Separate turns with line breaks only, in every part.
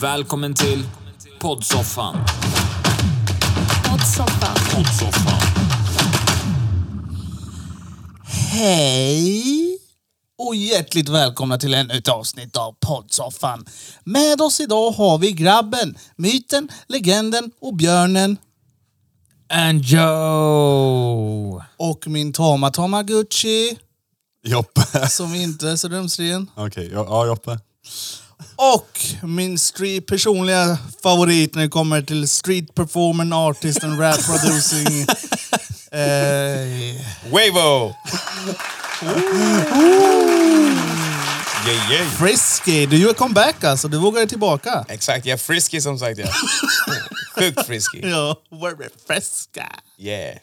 Välkommen till poddsoffan.
Poddsoffan.
Hej och hjärtligt välkomna till ännu ett avsnitt av poddsoffan. Med oss idag har vi grabben, myten, legenden och björnen
And Joe!
och min tama Tamaguchi
Joppe.
som inte är så rumsren.
Okej, ja, ja Joppe.
Och min street personliga favorit när det kommer till street performer, artist and rap producing. eh,
Wavo! yeah, yeah.
Frisky, du gör comeback alltså. Du vågar tillbaka.
Exakt, jag är frisky som sagt. Ja. Sjukt frisky.
Ja, very fresca.
Yeah.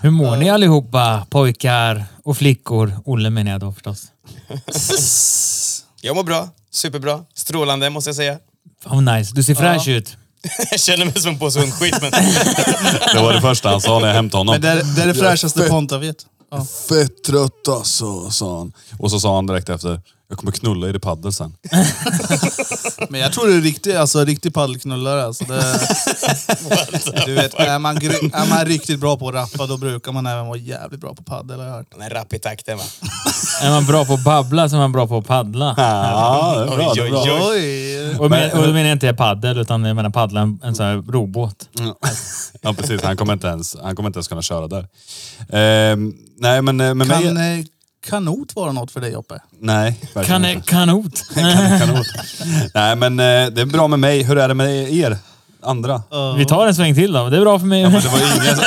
Hur mår ni allihopa, pojkar och flickor? Olle menar jag då förstås.
Jag mår bra, superbra, strålande måste jag säga.
Fan vad nice, du ser fräsch ut.
Jag känner mig som en påse hundskit men
Det var det första han sa när jag hämtade honom.
Men det är det, är det fräschaste Ponta vet. Ja.
Fett trött alltså, sa han. Och så sa han direkt efter, jag kommer knulla er i paddel sen.
Men jag tror du är riktig, alltså, riktig paddelknullare. Alltså, det, du vet, är man, gry- är man riktigt bra på att rappa då brukar man även vara jävligt bra på paddel har jag hört.
den är rapp i takten va.
Är man bra på att babbla så är man bra på att paddla.
Ja, det är bra. Det är bra.
Oj!
Och, men, och då menar jag inte paddel, utan jag menar paddla en, en sån här robåt.
Mm. Ja, precis. Han kommer inte ens, han kommer inte ens kunna köra där. Ehm, nej, men eh, med
Kan
mig...
eh, kanot vara något för dig Joppe?
Nej, verkligen
Kan,
inte.
kanot.
Kan- kanot. Nej, men eh, det är bra med mig. Hur är det med er andra?
Vi tar en sväng till då. Det är bra för mig.
Det var ingen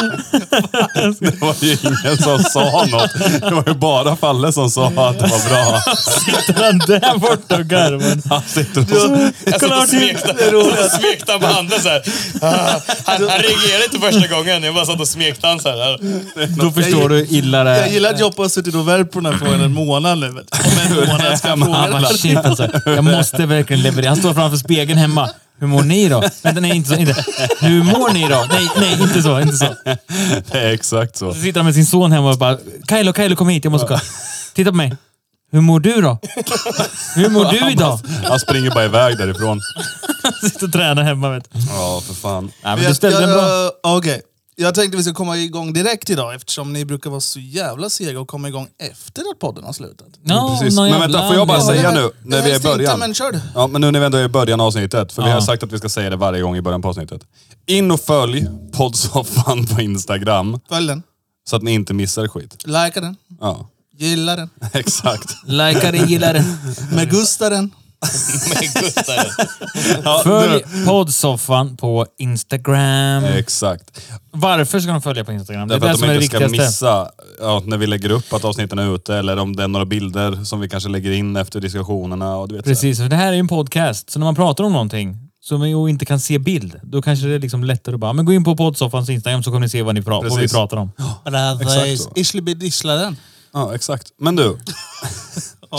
som... det var ju ingen som sa något. Det var ju bara Falle som sa att det var bra.
Sitter han där borta och garvar?
Han sitter och...
Jag satt och smekte- Alltså, jag smekte på handen såhär. Ah, Han, han reagerade inte första gången, jag bara satt och smekte han såhär.
Då förstår du hur illa det
Jag
är.
gillar att Joppe har suttit och värpt på den här frågan en månad nu. vet du. Om en månad ska jag fråga
Han
den.
bara, shit alltså. Jag måste verkligen leverera. Han står framför spegeln hemma. Hur mår ni då? Vänta, nej inte så. Inte. Hur mår ni då? Nej, nej, inte så. Inte så.
Det är exakt så.
Så sitter han med sin son hemma och bara, Kailo, Kailo kom hit, jag måste kolla. Titta på mig. Hur mår du då? Hur mår du idag?
Han springer bara iväg därifrån.
Sitter och tränar hemma vet du.
Ja, för fan.
Nej, men du ställde den bra.
jag, Okej. Jag tänkte vi ska komma igång direkt idag eftersom ni brukar vara så jävla sega och komma igång efter att podden har slutat.
Ja,
Precis.
någon
Men vänta,
jävla
får jag bara
anledning.
säga-
Ja,
nu, när
jag
vi är i
visste Inte,
början.
men kör du.
Ja, men nu när vi ändå är i början av avsnittet, för vi
Ja.
har sagt att vi ska säga det varje gång i början på avsnittet. In och följ poddsoffan på Instagram,
Följ den.
så att ni inte missar skit.
Likea den.
Ja,
Gilla den.
exakt.
Likea den, gilla den.
Med Gusta den.
Men Gustav,
Ja,
Följ
du-
poddsoffan på Instagram.
Exakt.
Varför ska de följa på Instagram? Det är
Därför
det
att
som
de
är det
inte ska
viktigaste.
missa ja, när vi lägger upp att avsnitten är ute eller om det är några bilder som vi kanske lägger in efter diskussionerna. Och du vet, så här.
Precis, för det här är ju en podcast. Så när man pratar om någonting som vi ju inte kan se bild, då kanske det är liksom lättare att bara, men gå in på poddsoffans Instagram så kommer ni se vad, ni pra- vad vi
Precis.
pratar om.
Exakt så.
Ishlibidissla den.
Ja, exakt. Men du,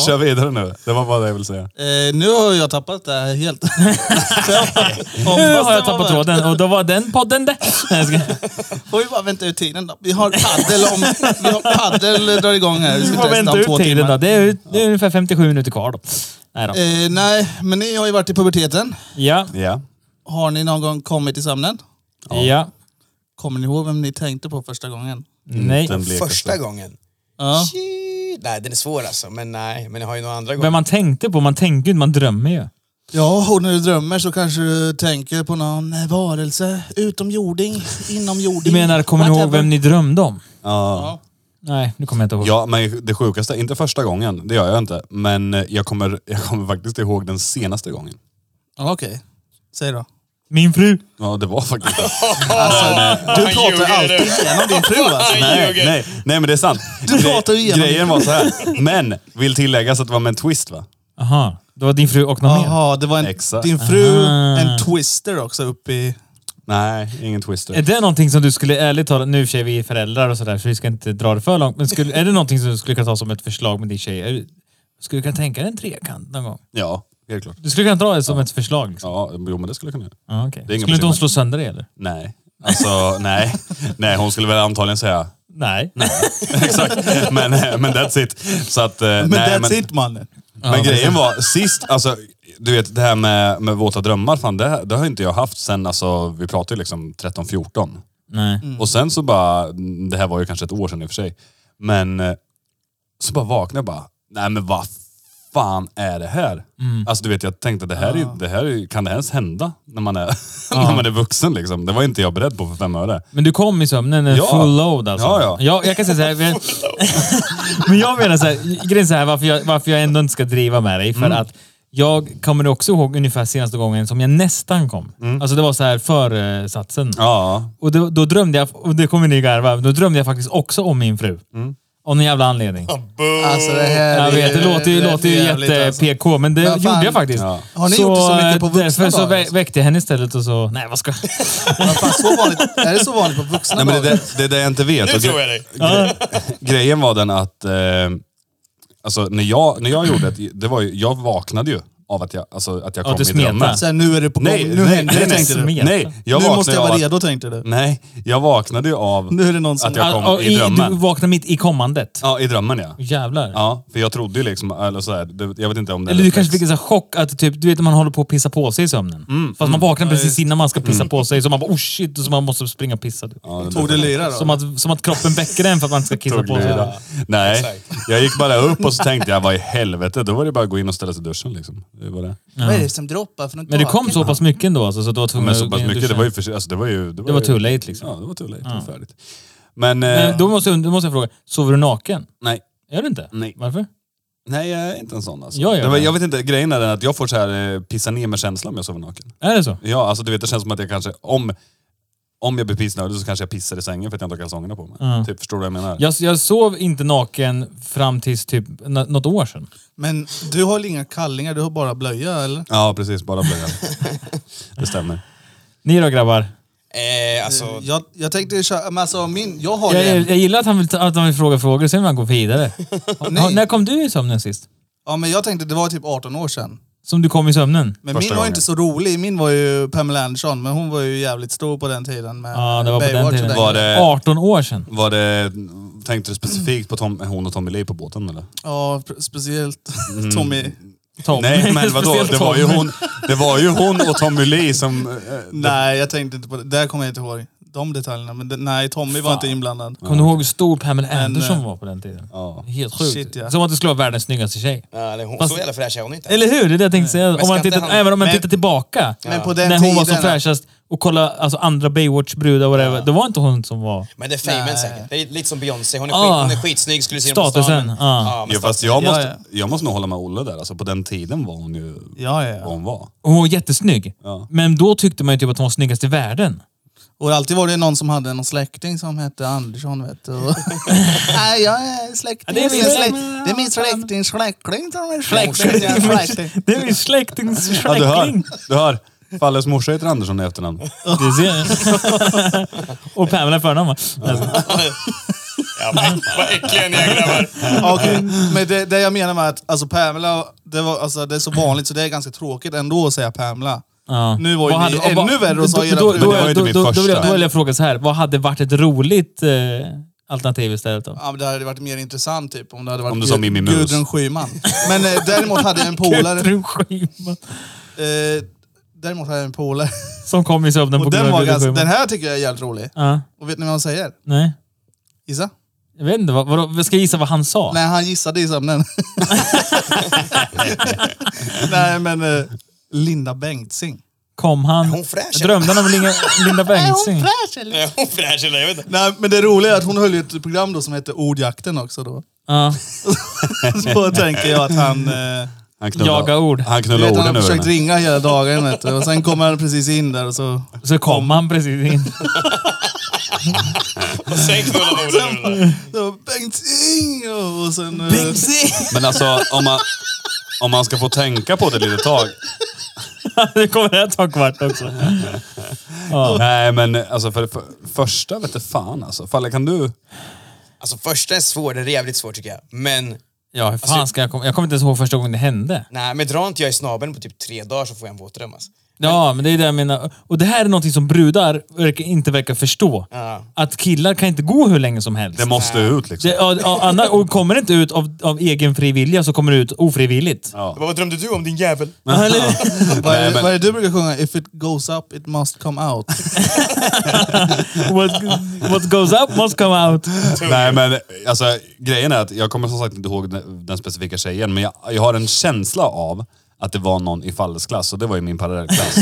kör vidare nu. Det var bara det jag ville säga.
Eh, nu har jag tappat det här helt. Så jag- hoppas
Nu har
det
jag
var
tappat
värt.
tråden och då var den podden det. Nej, jag skojar.
Får vi bara vänta ut tiden då. Vi har paddel om... Vi har paddel drar igång här. Vi
Vi
ska
får
testa
vänta
om
ut
två
tiden
timmar.
då. Det är, ju- det är ungefär 57 minuter kvar då. Nej då.
Eh, nej, men ni har ju varit i puberteten.
Ja,
Ja.
Har ni någon gång kommit i sömnen?
ja,
Kommer ni ihåg vem ni tänkte på första gången?
nej.
Den blekaste.
första gången.
Ja.
Shit. Nej den är svår alltså, men nej. Men jag har ju några andra gånger.
Men man tänkte på, man tänker ju, man drömmer ju.
Ja, och när du drömmer så kanske du tänker på någon varelse. Utomjording,
Du
inomjording.
menar, kommer ni ihåg
whatever.
vem ni drömde om?
Ja.
Nej, nu kommer jag inte ihåg.
ja, men det sjukaste, inte första gången, det gör jag inte. Men jag kommer, jag kommer faktiskt ihåg den senaste gången.
Ja, Okej, säg då.
Min fru.
Ja, det var faktiskt det.
Du
Han
pratar
ljuger,
alltid
du.
igenom din fru alltså.
Han
Nej,
ljuger.
nej, nej, men det är sant.
Du
Gre-
pratar ju igenom
Grejen var så här. men vill tilläggas att det var med en twist va?
Aha, det var din fru och någon mer.
Jaha, det var en,
Exakt.
din fru,
Ah.
en twister också uppe i...
Nej, ingen twister.
Är det någonting som du skulle, ärligt talat, nu i och för sig vi är föräldrar och sådär så vi ska inte dra det för långt, men skulle, är det någonting som du skulle kunna ta som ett förslag med din tjej? Är du- Skulle du kunna tänka dig en trekant någon gång?
Ja, helt klart.
Du skulle kunna dra det som ett förslag? Liksom.
Ja, jo, men det skulle jag kunna göra.
Ja, okej.
Det är inga
Skulle inte hon slå
bekymmer.
sönder det eller?
Nej. Alltså, nej. Nej, hon skulle väl antagligen säga
Nej.
exakt. Men, men that's it. Så att, eh,
Men
nej,
that's
men,
it mannen.
men grejen var, sist, alltså, du vet det här med, med våta drömmar, fan, det, det har inte jag haft sen, alltså, vi pratar ju liksom 13-14.
Nej.
Mm.
Och sen så bara, det här var ju kanske ett år sedan i och för sig, men eh, så bara vaknade jag bara, nej men vad fan är det här?
Mm.
Alltså du vet, jag tänkte det här, är, det här är, kan det ens hända när man, är, när man är vuxen liksom? Det var inte jag beredd på för fem öre.
Men du kom i sömnen en
Ja.
full load alltså?
Ja, ja.
Jag, jag kan säga så här, men, men jag menar så här, grejen är så här varför jag, varför jag ändå inte ska driva med dig.
Mm.
För att jag kommer också ihåg ungefär senaste gången som jag nästan kom. Alltså det var så här försatsen.
Mm. Ja,
Och då, då drömde jag, och det kommer ni garva, då drömde jag faktiskt också om min fru.
Mm.
Av någon jävla anledning.
Alltså det här
Jag vet, det
är-
låter ju,
är
låter ju
jävligt, alltså.
jätte-PK, men det
Men fan.
gjorde jag faktiskt. eh,
Ja.
Har ni gjort det så mycket på vuxna
Därför så
dagar,
vä-
alltså?
väckte jag henne istället och så... Nej, vad ska
Vad fan, så vanligt, är det så vanligt på vuxna
nej men det,
dagar?
det, det är det jag inte vet.
Nu
Och
tror
gre-
jag dig.
Grejen var den att, eh, alltså när jag, när jag gjorde det, det var ju, jag vaknade ju av att jag, alltså, att jag
Ja,
kom
att du
i drömmen.
smetade.
Så här, nu är det på gång,
Nej,
nu
nej,
händer
nej,
det
nej,
tänkte du.
nej.
Nej, jag
Nu
vaknade
måste jag
av
vara
att-
redo tänkte du.
Nej, jag vaknade ju av
Nu är det någon som...
att jag kom
Ja,
i drömmen.
Du vaknar mitt i kommandet.
Ja, i drömmen ja.
Jävlar.
Ja, för jag trodde ju liksom, eller så här, det- jag vet inte om det är
Eller du
reflex.
kanske fick en sån här chock att typ, du vet när man håller på att pissa på sig i sömnen.
Mm,
Fast man vaknar precis innan man ska pissa på sig, så man bara oh shit, och så man måste springa och pissa. Typ.
Ja, det-
Tog det lyra då?
Som, att, som att kroppen väcker en för att man ska kissa
tog
på sig.
lyra. Nej, jag gick bara upp och så tänkte jag, vad i helvete? Då var det bara att gå in och ställa sig i duschen liksom. Det var det.
Vad är det som droppar från
Men det kom
taket?
så pass mycket ändå alltså, så att du var tvungen
Men så pass
att-
mycket, det var ju för alltså, det var ju...
Det var
ju-
too late, liksom.
Ja, det var too late. Det var färdigt. Men, eh,
Men då måste, jag, då måste jag fråga, sover du naken?
nej.
Är du inte?
Nej.
Varför?
Nej, jag är inte en sån alltså.
Jag gör
det var,
det.
jag vet inte, grejen är den att jag får så här eh, pissa ner med känslan om jag sover naken.
Är det så?
Ja, alltså du vet, det känns som att jag kanske, om, om jag blir pissnödig så kanske jag pissar i sängen för att jag inte har kalsongerna på mig. Typ, förstår du vad jag menar?
Jag, jag sov inte naken fram tills typ n- något år sedan.
Men du har väl inga kallingar, du har bara blöja eller?
Ja, precis. Bara blöjan. det stämmer.
Ni då grabbar?
Eh, alltså,
Jag, jag tänkte köra, men alltså min, jag har
Jag,
en.
jag gillar att han vill, ta- att han vill fråga frågor, sen vill han gå vidare.
Nej.
Har- när kom du i sömnen sist?
Ja men jag tänkte det var typ 18 år sedan.
Som du kom i sömnen?
Men min
Första
var ju
gången.
inte så rolig, min var ju Pamela Anderson, men hon var ju jävligt stor på den tiden med
Ja, det var på
Baywatch
den
och
tiden.
den
Var
grejen.
det-
18 år sedan.
Var det, tänkte du specifikt på Tom, hon och Tommy Lee på båten eller?
Ja, pr- speciellt
Mm.
Tommy.
Tom.
Nej men vadå,
Speciellt
det var, ju
Tom.
hon, det var ju hon och Tommy Lee som... eh,
Nej, jag tänkte inte på det. Där kommer jag inte ihåg de detaljerna. Men det, nej, Tommy var inte inblandad.
Kommer du ihåg hur stor Pamela Anderson
eh,
var på den tiden?
Ja.
Helt sjukt.
Shit, ja.
Som att du skulle vara världens snyggaste tjej.
nej, nej, hon,
Fast-
så jävla fräsch är hon inte.
Eller hur? Det är det jag tänkte säga. Om
ska
man
inte
tittar,
han-
Även om man
Mm. Men-
tittar tillbaka.
Men på den
när hon var som
tiden-
fräschast och kolla alltså, andra Baywatch-brudar whatever. Det var inte hon som var...
Men det är famen
Nej.
säkert. Det är lite som Beyoncé. Hon är,
Ah.
skit, hon är skitsnygg, skulle du se hon på stan.
Statusen,
men-
ah.
Ja, men
Ja, fast
statusen.
jag
Ja,
måste, jag måste nog hålla med Olle där, alltså på den tiden var hon ju
Ja, ja,
vad
ja.
hon var.
Hon var jättesnygg.
Ja.
Men då tyckte man ju typ att hon var snyggast i världen.
Och alltid var det någon som hade någon släkting som hette Andersson, vet du. nej, jag är släkting.
Ja, det är min
släk-
släkting.
det är min släkting, släkting som är
Släkting.
släkting. släkting.
Det är min släktings
Ja, du hör,
släkting.
du hör. Falles morsa heter Andersson i efternamn.
Du ser. och Pamela i förnamn va? Alltså,
Ja, men, vad äckliga ni är grabbar.
Okej, Men det, det jag menar med att alltså Pamela, det, var, alltså, det är så vanligt så det är ganska tråkigt ändå att säga Pamela.
Ja.
Nu var ju
Vad
ni
hade- vad-
ännu värre och sa
då-
era
då-
fru-
då-
Men det var ju inte
då-
min
då- Då vill jag-
första.
då vill jag fråga så här. Vad hade varit ett roligt eh, alternativ istället då?
Ja, men det hade varit mer intressant typ om det hade varit
Om du sa
Gud-
Mimmi Mus.
Gudrun Schyman. Men eh, däremot hade jag en polare.
Gudrun Schyman.
Eh, däremot hade jag en polare.
Som kom i sömnen på
Och
grund
den,
av
var
Gudrun
ganska, den
Schyman.
här tycker jag är jävligt rolig.
Ja,
Och vet ni vad han säger?
nej.
Gissa?
Jag vet inte. Vad, vadå? Jag ska gissa vad han sa?
Nej, han gissade i sömnen. Nej, men eh, Linda Bengtzing.
Kom han...
hon fräsch?
Drömde han om Linda, Linda Bengtzing?
fräsch eller?
Är hon fräsch eller? Jag vet inte.
Nej, men det roliga är att hon höll ju ett program då som hette Ordjakten också då.
Ja.
Så tänker jag att han... Eh,
Han knullar,
Jaga ord.
Han
du
knullar
vet, han
orden
har
ur
försökt
henne.
ringa hela dagen vet du. Och sen kommer han precis in där och så...
Så kom han precis in.
Och sen knullar hon orden ur det där.
Då, Bengtzing! Och, och sen... eh,
Men alltså om man, om man ska få tänka på det lite tag.
Det kommer att ta en kvart också.
Nej men alltså för, för första vet du fan alltså. Falle kan du?
Alltså första är svår, den är jävligt svår tycker jag. Men,
Ja, hur fan ska jag komma? Jag kommer inte ens ihåg första gången det hände.
nej, men dra inte jag i snabeln på typ tre dagar så får jag en våt dröm alltså.
Ja, men det är det jag menar. Och det här är någonting som brudar verkar, inte verkar förstå.
Ja.
Att killar kan inte gå hur länge som helst.
Det måste ut liksom.
Det- ja, ja, annars, och kommer det inte ut av, av egen fri vilja så kommer det ut ofrivilligt.
Ja.
Vad drömde du om din jävel?
Eller?
Vad är,
Nej,
det-
men-
vad är det du brukar sjunga? If it goes up it must come out.
What, what goes up must come out.
Nej men alltså, grejen är att jag kommer som sagt inte ihåg den, den specifika tjejen, men jag, jag har en känsla av att det var någon i fallesklass och det var ju min parallellklass.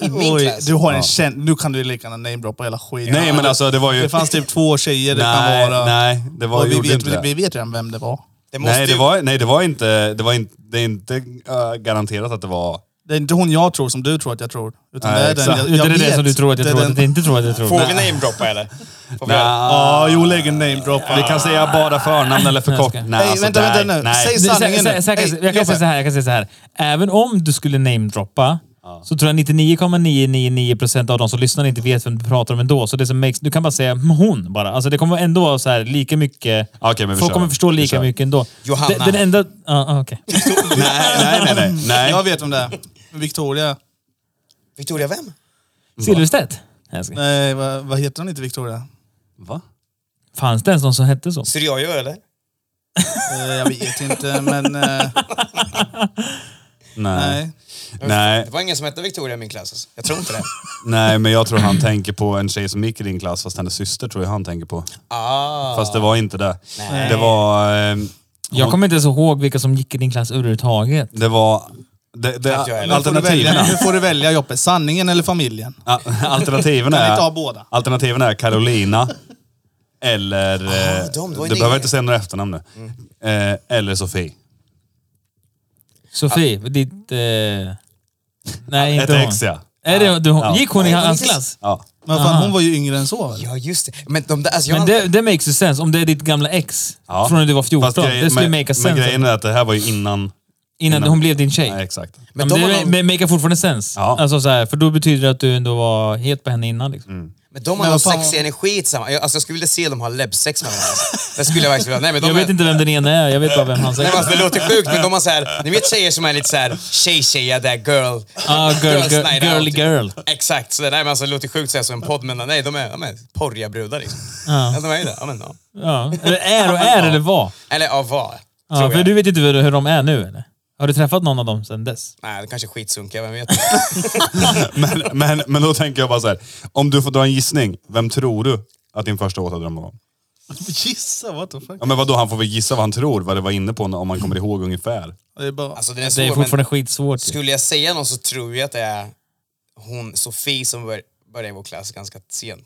I min
Oj,
klass?
du har en känd... Nu kan du lika gärna namedroppa hela skiten.
nej men alltså det var ju...
Det fanns typ två tjejer det
nej,
kan vara.
nej, det var
och vi,
gjorde
vet,
inte det.
vi, vi vet redan vem det var.
Det måste
Nej, det
ju-
var, nej, det var inte, det var inte, det är inte äh, garanterat att det var...
Det är inte hon jag tror som du tror att jag tror. Utan
Nej,
det är den
exakt.
jag, jag
Utan det är det
vet.
som du tror att jag
Det är
tror att
den-
jag inte tror att jag tror.
Får vi namedroppa eller? Får vi göra?
Ja,
Ja, Ah, jo lägg en namedrop.
Vi kan säga bara förnamn eller förkort.
Nej,
Nej,
Nej,
alltså,
vänta,
nej,
vänta nu.
Nej.
Säg
Du, sä-
sanningen
sä-
nu.
säkert-
Hej,
Jag kan
Jobbe.
säga så här, jag kan säga så här. Även om du skulle namedroppa så tror jag 99,999% av de som lyssnar inte vet vem du pratar om ändå. Så det som makes, du kan bara säga "Mm, hon bara. Alltså det kommer ändå vara så här lika mycket.
Okej, men vi
folk
kör.
kommer förstå
Vi
lika
kör.
mycket ändå.
Johanna.
Den, den enda... Ja, ah, okej.
nej, nej, nej, nej, nej.
Jag vet om det är. Victoria.
Victoria, vem?
Silverstedt? Nej, jag skojar.
Nej, vad, vad heter hon inte Victoria?
Va?
Fanns det ens någon som hette så?
Syriojo eller?
Eh, jag vet inte, men... eh,
Nej.
nej.
Nej.
Det var ingen som hette Victoria i min klass. Alltså. Jag tror inte det.
nej, men jag tror han tänker på en tjej som gick i din klass, fast hennes syster tror jag han tänker på.
Ah.
Fast det var inte det.
Nej.
Det var... ehm,
Jag kommer inte ens ihåg vilka som gick i din klass överhuvudtaget.
Det var... Det, det,
Knappt jag heller.
Nu får du välja,
alternativen,
nu får du välja Joppe. Sanningen eller familjen?
alternativen
Kan vi inte ha
är...
båda?
Alternativen är Carolina. Eller... eh,
Ah, de, det var Mm.
du
ju
behöver
det.
inte säga några efternamn nu. Eh, eller Sofie.
Sofie, ditt... Eh... Nej,
Ett
inte hon.
ex ja.
Är det, du,
Ja.
Gick hon i
Nej,
hans
hon gick-
klass?
ja.
Men fan, hon var ju yngre än så väl?
Ja, just det. Men de där, alltså, jag
Men
har
det, det makes ju sense. Om det är ditt gamla ex
Ja.
från när du var 14.
Fast grejen-
det skulle
men-
make a
Men
sense.
grejen är att det här var ju innan...
innan
innan-
hon blev din tjej.
Nej, exakt.
Men,
Men de
det
har någon-
men make fortfarande sens.
Ja.
Alltså så här, för då betyder det att du ändå var het på henne innan. Liksom.
Men de har
Men
någon
vad fan-
sexig energi tillsammans. Jag, alltså, jag skulle vilja se dem ha läbbsex med varandra. Alltså. Det skulle jag verkligen vilja. Nej, men de
Jag vet
är...
inte vem den ena är. Jag vet bara vem han
Nej,
säger.
men alltså, det låter sjukt, men de har så här, ni vet tjejer som är lite så här tjej-tjeja där, girl.
Ah, girl,
Girls
girl,
night
girl,
out.
girl.
Exakt, så det, nej, men alltså, det låter sjukt att säga så i en podd, men nej, de är, de är porriga brudar liksom.
Ah.
Ja. de är ju det. Ja, men, ja.
Ja. Eller är och är eller var.
Eller ja, vad?
Ja,
tror
Ah, för
jag.
du vet inte hur, hur de är nu eller? Har du träffat någon av dem sedan dess?
Nej, det kanske är skitsunkiga, vem vet. Alltså,
Men, men, men då tänker jag bara så här. Om du får dra en gissning, vem tror du att din första åt hade drömt om?
Gissa, what the fuck?
Ja men vadå, han får väl gissa vad han tror, vad det var inne på om man kommer ihåg ungefär.
Det är bara...
Alltså, den är svår,
Det är
men
fortfarande skitsvårt. ju.
skulle jag säga någon så tror jag att det är hon, Sofie, som bör, började i vår klass ganska sent.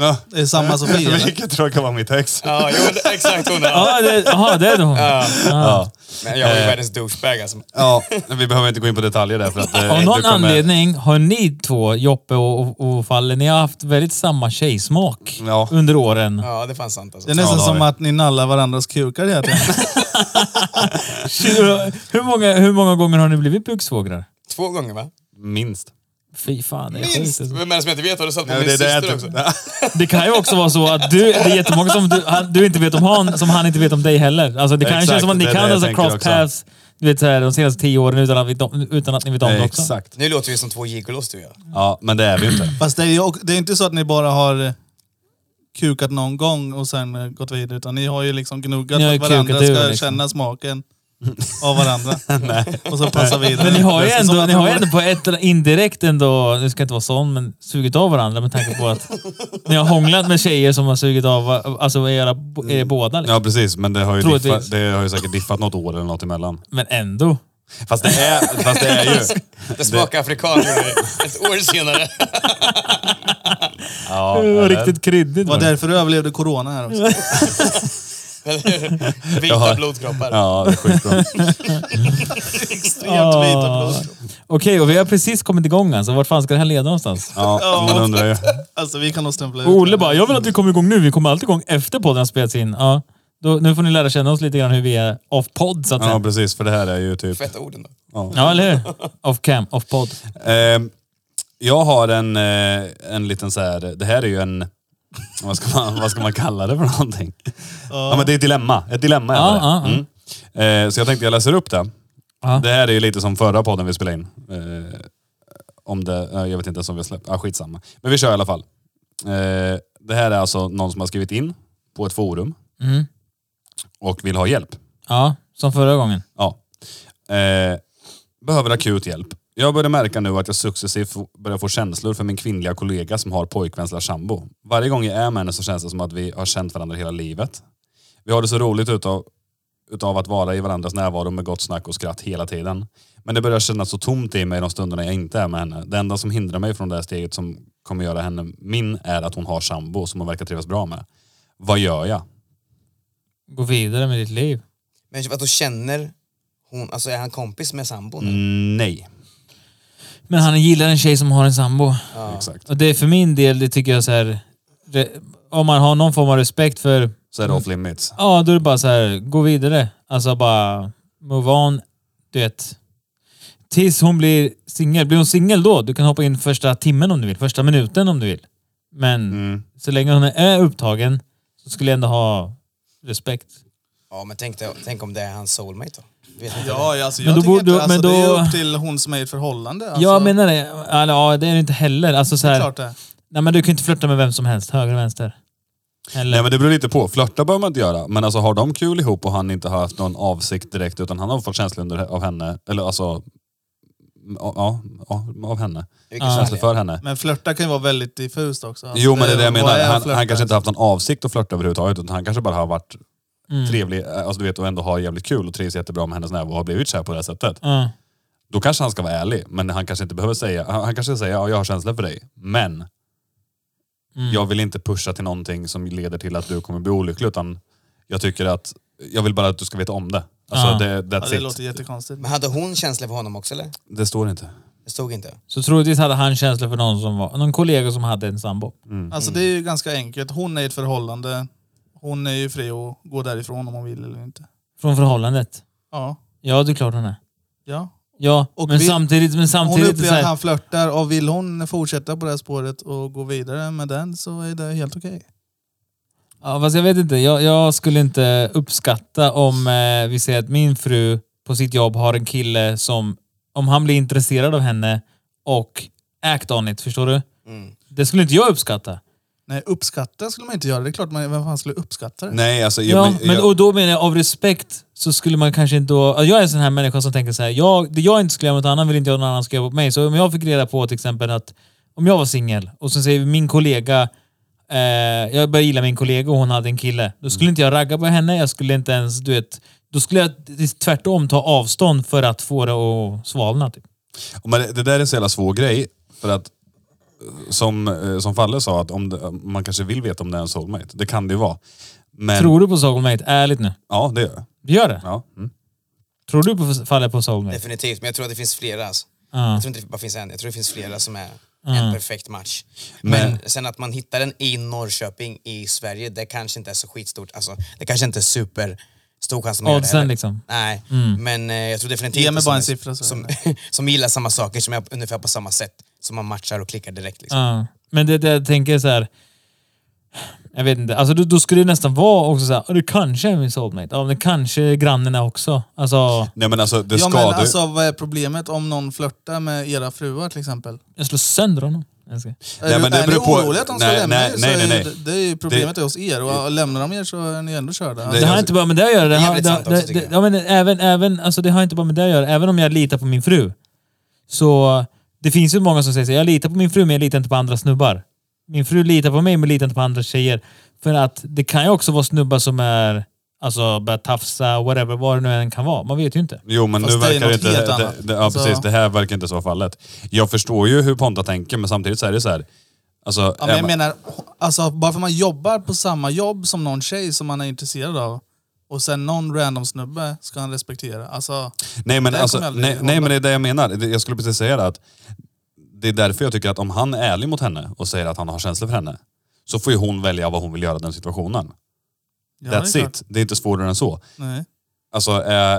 Ja.
Det är samma Sofie eller?
Vilket tror jag kan vara mitt ex.
Ja, jo, det- exakt hon. Ja.
Ja, det, aha, det är det hon.
Ja.
Men jag var ju världens douchebag alltså.
ja, men vi behöver inte gå in på detaljer där för att... eh,
Av
du
någon
kommer-
anledning har ni två, Joppe och, och, och Falle, ni har haft väldigt samma tjejsmak
Ja.
under åren.
Ja, det är fan sant alltså.
Det är nästan
Ja, det har
som
vi.
att ni nallar varandras kukar hela tiden.
Hur många, hur många gånger har ni blivit buksvågrar?
Två gånger va?
Minst.
Fy fan, det är
Minst!
sjukt.
Vem
alltså.
är det som jag inte vet? Har du satt på min
det,
syster
är
också?
Det kan ju också vara så att du, det är jättemånga som du, han, du inte vet om han, som han inte vet om dig heller. Alltså det kan ju
Exakt,
kännas som att ni
det är
kan
det jag
alltså
tänker
cross
också.
paths du vet, så här, de senaste tio åren utan att, vi, utan att ni vet om det också.
Eh, Exakt.
Nu låter vi som två gigolos du och jag.
Ja, men det är vi ju inte.
Fast det är, ju och- det är inte så att ni bara har eh, kukat någon gång och sen eh, gått vidare, utan ni har ju liksom gnuggat
Ni har
för
ju
att varandra
kukat
ska
ur, liksom.
känna smaken av varandra. och så passa vidare.
Men ni har ju
Det är som
ändå,
att
ni har ju
man-
ändå på ett eller indirekt ändå, nu ska jag inte vara sån, men sugit av varandra med tanke på att ni har hånglat med tjejer som har sugit av alltså era, er båda. Liksom.
Ja precis, men det har ju,
Troligtvis.
diffat, det har ju säkert diffat något år eller något emellan.
Men ändå.
Fast det är, fast det är ju...
Det smakar afrikan gjorde det. ett år senare.
Ja,
Det var
eller?
riktigt kryddigt.
Det var därför du överlevde corona här också.
Vita blodkroppar.
Ja, det är skitbra.
Extremt vita blodkroppar.
Ah. Okej, och vi har precis kommit igång alltså. Vart fan ska det här leda någonstans?
Ja, man undrar ju.
Alltså vi kan nog stämpla ut
Och Olle
den.
bara, jag vill att vi kommer igång nu. Vi kommer alltid igång efter podden har spelats in. Ja, då, nu får ni lära känna oss lite grann hur vi är off podd så att
Ja
säga.
precis, för det här är ju typ...
Feta orden då.
Ja, eller hur? Off cam, off podd.
Ehm, jag har en, eh, en liten så här, det här är ju en, vad ska man, vad ska man kalla det för någonting? Ja men det är ett dilemma, ett dilemma
Ja,
är det.
ja, ja.
Mm. Ehm, så jag tänkte jag läser upp det.
Ja.
Det här är ju lite som förra podden vi spelade in. Ehm, Om det, eh, jag vet inte ens om vi har släppt. Ah, skitsamma. Men vi kör i alla fall. Eh, det här är alltså någon som har skrivit in på ett forum
Mm.
och vill ha hjälp.
Ja, som förra gången.
Ja. Eh, behöver akut hjälp. Jag börjar märka nu att jag successivt f- börjar få känslor för min kvinnliga kollega som har pojkvän slash sambo. Varje gång jag är med henne så känns det som att vi har känt varandra hela livet. Vi har det så roligt utav, utav att vara i varandras närvaro med gott snack och skratt hela tiden. Men det börjar kännas så tomt i mig de stunderna jag inte är med henne. Det enda som hindrar mig från det här steget som kommer göra henne min är att hon har sambo som hon verkar trivas bra med. Vad gör jag?
Gå vidare med ditt liv.
Men vadå känner hon, alltså är han kompis med sambon?
Mm. Nej.
Men han gillar en tjej som har en sambo.
Exakt.
Och det är för min del, det tycker jag så här... Det, om man har någon form av respekt för...
Så är det off limits.
Ja, då är det bara så här, gå vidare. Alltså bara move on. Du vet. Tills hon blir singel. Blir hon singel då, du kan hoppa in första timmen om du vill. Första minuten om du vill. Men
Mm.
så länge hon är upptagen så skulle jag ändå ha respekt.
Ja men tänk, dig- tänk om det är hans soulmate då? Du vet inte det.
Ja, ja, alltså, jag
Men då
tycker
borde-
inte, alltså,
men
det
då-
är upp till hon som är i ett förhållande. Alltså,
Jag menar det. Alltså, ja, det är det inte heller. Alltså så
det är
här,
klart det.
nej, men du kan ju inte flirta med vem som helst, höger och vänster. Eller?
Nej men det beror lite på. Flörta behöver man inte göra. Men alltså har de kul ihop och han inte har haft någon avsikt direkt utan han har fått känslor under, av henne, eller alltså, m- ja, ja, av henne.
Vilken
Känslor
kärlek.
för henne.
Men flörta kan ju vara väldigt diffust också. Alltså,
Jo men det är det jag
vad
menar.
är
Han,
flörta?
han kanske inte haft någon avsikt att flörta överhuvudtaget utan han kanske bara har varit
Mm.
trevlig, eh, alltså du vet och ändå har jävligt kul och trivs jättebra med hennes närvaro och har blivit kär på det här sättet.
Ja.
Då kanske han ska vara ärlig, men han kanske inte behöver säga, han, han kanske säger ja jag har känslor för dig, men
Mm.
jag vill inte pusha till någonting som leder till att du kommer bli olycklig utan jag tycker att, jag vill bara att du ska veta om det. Alltså
Ja.
det,
Ja,
that's
det
it.
låter jättekonstigt.
Men hade hon känslor för honom också eller?
Det står inte.
Det stod inte.
Så troligtvis hade han känslor för någon som var, någon kollega som hade en sambo.
Alltså det är ju ganska enkelt. Hon är i ett förhållande. Hon är ju fri att gå därifrån om hon vill eller inte.
Från förhållandet.
Ja.
Ja, det är klart hon är.
ja.
Ja,
Och
men,
vi-
samtidigt, men
Hon
samtidigt... så
upplever
här-
att han flörtar och vill hon fortsätta på det här spåret och gå vidare med den så är det helt okej.
Ja, fast jag vet inte. Jag, jag skulle inte uppskatta om eh, vi säger att min fru på sitt jobb har en kille som, om han blir intresserad av henne och act on it, förstår du?
Mm.
Det skulle inte jag uppskatta.
Nej, uppskatta skulle man inte göra. Det är klart, man, vem fan skulle uppskatta det?
Nej alltså, jag,
Ja,
men,
men,
jag,
och då menar jag av respekt så skulle man kanske inte då... ja, Jag är en sån här människa som tänker så här. Jag, det jag inte skulle göra mot någon annan vill inte jag någon annan ska göra mot mig. Så om jag fick reda på till exempel att om jag var singel och så säger min kollega eh, jag började gilla min kollega och hon hade en kille. Då
Mm.
skulle inte jag ragga på henne. Jag skulle inte ens, du vet. Då skulle jag tvärtom ta avstånd för att få det att svalna. Typ.
men det, det där är en så jävla svår grej, för att eh, som, eh, som Falle sa, att om det, man kanske vill veta om det är en soulmate. Det kan det ju vara. Men,
Tror du på soulmate? Ärligt nu.
Ja, det gör jag.
Gör det?
Ja. Mm.
Tror du på fallet på soulmate?
Definitivt, men jag tror att det finns flera. Alltså.
Ja.
Jag tror inte det bara finns en, jag tror det finns flera som är en perfekt match. Men
Men-
sen att man hittar den i Norrköping i Sverige, det kanske inte är så skitstort. Alltså, det kanske inte är super stor chans att man gör det
Oddsen,
heller.
liksom.
Nej, men eh, jag tror definitivt
Ge mig
som-
bara en siffra, så är
som, som gillar samma saker, som är ungefär på samma sätt. Som man matchar och klickar direkt. Liksom.
Ja, men det, det jag tänker så här. Jag vet inte, alltså då, då skulle det nästan vara också så här, "Ja, det kanske är min soulmate. Ja, men det kanske är grannen är också. Alltså,
Nej men alltså, det
ja,
ska
men
du...
alltså vad är problemet om någon flörtar med era fruar till exempel?
jag slår sönder honom. Jag ska-
Är
Nej,
du-
men det
är
beror
ni
på-
oroliga att de ska
nej,
lämna
nej,
er så
nej, nej,
är
nej.
ju- Det, det är ju problemet hos er. Och lämnar de er så är ni ändå körda.
Det-
Det har
alltså-
inte bara med det att göra. Det,
är
har,
jävligt
det,
sant också,
det,
tycker
det,
jag.
ja, men även, även, alltså det har inte bara med det att göra. Även om jag litar på min fru. Så det finns ju många som säger så här, jag litar på min fru men jag litar inte på andra snubbar. Min fru litar på mig men litar inte på andra tjejer. För att det kan ju också vara snubbar som är, alltså börjar tafsa, whatever, vad det nu än kan vara. Man vet ju inte.
Jo men nu
Fast det är
verkar
något
inte...
helt
Det,
annat.
det, ja
Alltså-
precis, det här verkar inte så fallet. Jag förstår ju hur Ponta tänker men samtidigt så är det så här... Alltså,
Ja, men
är
jag
man-
menar, alltså, bara för man jobbar på samma jobb som någon tjej som man är intresserad av och sen någon random snubbe ska han respektera. Alltså,
Nej men,
Där
alltså,
kommer jag aldrig
nej,
ihåg
nej men
det.
det är det jag menar. Det- Jag skulle precis säga det att det är därför jag tycker att om han är ärlig mot henne och säger att han har känslor för henne så får ju hon välja vad hon vill göra i den situationen.
ja, det är
That's
klart.
it. Det är inte svårare än så.
Nej.
Alltså, eh,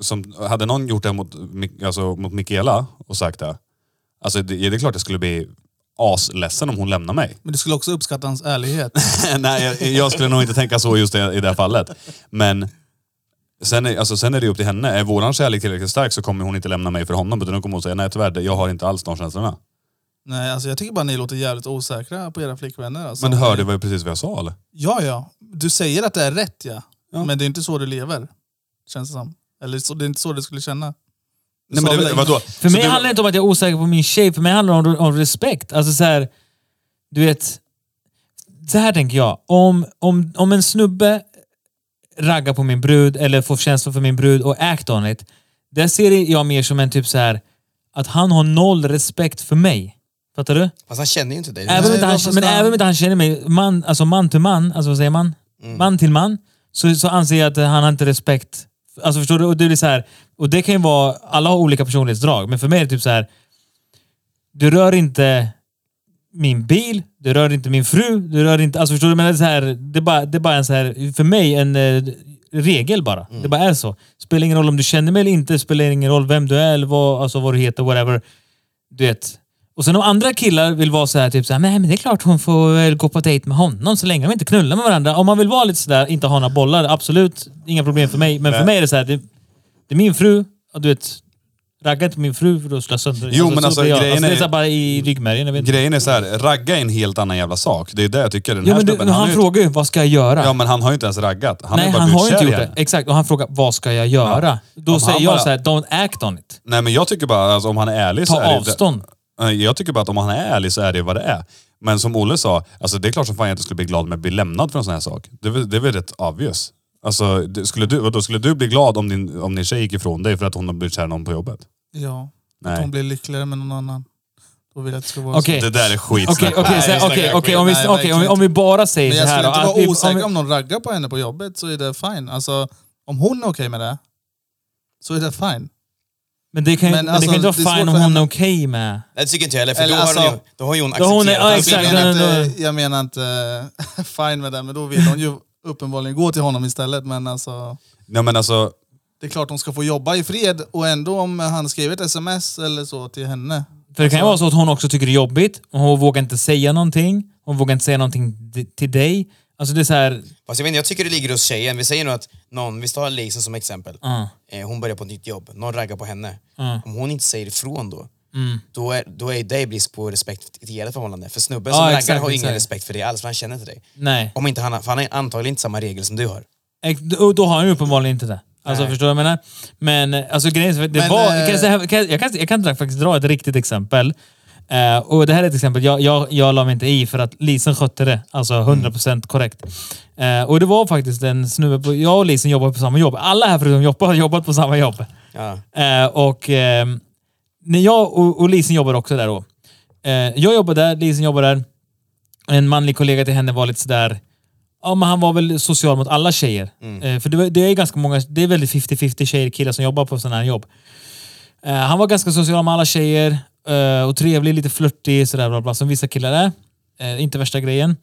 som, hade någon gjort det mot, Mi- alltså, mot Mikaela och sagt det, alltså, det, det är klart jag skulle bli asledsen om hon lämnar mig.
Men du skulle också uppskatta hans ärlighet.
Nej, jag, jag skulle nog inte tänka så just i, i det här fallet. Men sen är, alltså, sen är det upp till henne. Är våran kärlek tillräckligt stark så kommer hon inte lämna mig för honom. Utan hon kommer att säga, nej tyvärr, det- jag har inte alls de känslorna.
Nej, alltså jag tycker bara ni låter jävligt osäkra på era flickvänner. Alltså.
Men hörde du precis vad jag sa eller?
Ja, ja. Du säger att det är rätt, ja.
Ja.
Men det är inte så du lever. Känns det som. Eller så, det är inte så du skulle känna.
Nej,
sa
men
väl
det,
det.
vadå?
För
Så
mig
du-
handlar det inte om att jag är osäker på min tjej, för mig handlar det om, om respekt. Alltså så här, du vet, så här tänker jag. Om, om, om en snubbe raggar på min brud eller får känslor för min brud och act on it. Det ser jag mer som en typ så här att han har noll respekt för mig. Fattar du?
Fast han känner ju inte dig.
Även om inte han,
vad fast
men
han-
även om inte han känner mig, man, alltså man till man, alltså vad säger man? Man till man, så, så anser jag att han har inte respekt. Alltså förstår du? Och det, blir så här, och det kan ju vara, alla har olika personlighetsdrag, men för mig är det typ så här. Du rör inte min bil, du rör inte min fru, du rör inte... Alltså förstår du? Men det, är så här, det, är bara, det är bara en så här, för mig en eh, regel bara. Det bara är så. Spelar ingen roll om du känner mig eller inte, spelar ingen roll vem du är eller vad, alltså vad du heter, whatever. Du vet. Och sen om andra killar vill vara så här, typ så här, nej men det är klart hon får väl gå på dejt med honom så länge de inte knullar med varandra. Om man vill vara lite sådär, inte ha några bollar, absolut, inga problem för mig. Men för mig är det så här, det, det är min fru, och du vet, ragga inte min fru för då slår jag sönder.
Jo, men
så
alltså,
blir jag.
grejen
alltså, det är
är-
så här bara i ryggmärgen. Jag vet inte.
Grejen är så här, ragga är en helt annan jävla sak. Det är det jag tycker. Den
Ja,
här
men du,
snubben,
han,
har ju inte-
frågar ju vad ska jag göra?
Ja men han har ju inte ens raggat. Han
Nej,
är bara
han har
blivit
inte
kär
gjort
i
det.
henne.
Exakt. Och han frågar vad ska jag göra? Då
Om
säger
han
jag
bara-
så här, don't act on it.
Nej men jag tycker bara, alltså, om han är ärlig
Ta
så är
avstånd.
Det, Alltså, Nej, Eh, jag tycker bara att om han är ärlig så är det vad det är. Men som Olle sa, alltså, det är klart som fan jag inte skulle bli glad om jag blir lämnad för en sån här sak. Det är väl, det är väl rätt obvious. Alltså, det, skulle, du, då skulle du bli glad om din, om din tjej gick ifrån dig för att hon har blivit kär i någon på jobbet?
Ja. Att
Nej.
hon blir lyckligare med någon annan. Då vill jag att det ska vara
Okej.
Det där är skitsnack.
Okej, okej, så här,
snackar
okej,
skit.
okej, om vi-
Nej,
okej,
verkligen
om vi- om vi bara säger
Men
så
jag
här
skulle
då. att vi-
inte vara
om vi-
osäker om någon raggar på henne på jobbet så är det fine. Alltså, om hon är okej med det så är det fine.
Men det kan ju
Men
men
alltså,
det kan inte
det är
vara fine
svårt
om hon
för henne.
är okej med.
Det tycker inte jag heller, för
Eller
då, har hon ju,
alltså-
då har ju hon
Då har hon-
accepterat.
ja,
hans
exakt.
Jag
vilja.
menar
den-
inte, jag menar inte fine med det, men då vill hon ju uppenbarligen gå till honom istället. Men alltså,
Nej men alltså,
det är klart hon ska få jobba i fred och ändå om han skriver ett sms eller så till henne.
För det kan ju
Alltså-
vara så att hon också tycker det är jobbigt. Och hon vågar inte säga någonting. Hon vågar inte säga någonting d- till dig. Alltså det är så här...
Fast jag, vet, inte, jag tycker det ligger hos tjejen. Vi säger nu att någon, vi tar Lisen som exempel.
Ja.
Eh, hon börjar på ett nytt jobb, någon raggar på henne.
Ja. Mm.
Om hon inte säger ifrån då, då, är, då är det brist på respekt i ert förhållande. För snubben
Ja,
som raggar
exakt,
har ju ingen
exakt.
respekt för dig alls, för han känner inte dig.
Nej.
Om inte han, för han har antagligen inte samma regel som du har.
Ex- Och då har han ju uppenbarligen inte det. Alltså förstår du vad jag menar? Men eh, alltså grejen är, så- det
Men,
var,
eh,
kan jag, säga, kan jag, jag, kan, jag kan faktiskt dra ett riktigt exempel. Eh, och det här är ett exempel jag, jag, jag la mig inte i för att Lisen skötte det. Alltså
Mm.
100% korrekt. Eh, och det var faktiskt en snubbe, på, jag och Lisen jobbar på samma jobb. Alla här förutom Joppa har jobbat på samma jobb.
Ja.
Eh, och ehm, när jag och, och Lisen jobbar också där då. Eh, jag jobbar där, Lisen jobbar där. En manlig kollega till henne var lite sådär... Ja, men han var väl social mot alla tjejer. Eh, för det, var- det är ganska många... Det är väldigt 50-50 tjejer och killar som jobbar på sådana här jobb. Eh, han var ganska social med alla tjejer eh, och trevlig, lite flörtig, sådär bla bla, som vissa killar är. Eh, inte värsta grejen.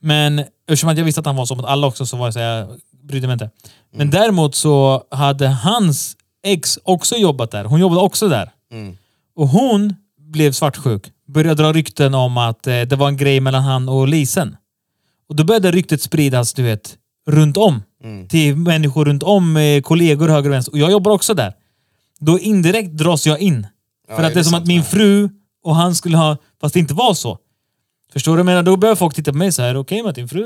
Men eftersom att jag visste att han var så mot alla också så var jag så här, jag brydde mig inte. Men däremot så hade hans ex också jobbat där. Hon jobbade också där. Och hon blev svartsjuk. Började dra rykten om att eh, det var en grej mellan han och Lisen. Och då började ryktet spridas, du vet, runt om.
Mm.
Till människor runt om, eh, kollegor höger och vänster. Och jag jobbar också där. Då indirekt dras jag in. För att
är
det är
det
som
sant?
att min fru och han skulle ha... Fast det inte var så. Förstår du? Jag menar, då börjar folk titta på mig så här. Okej med att din fru...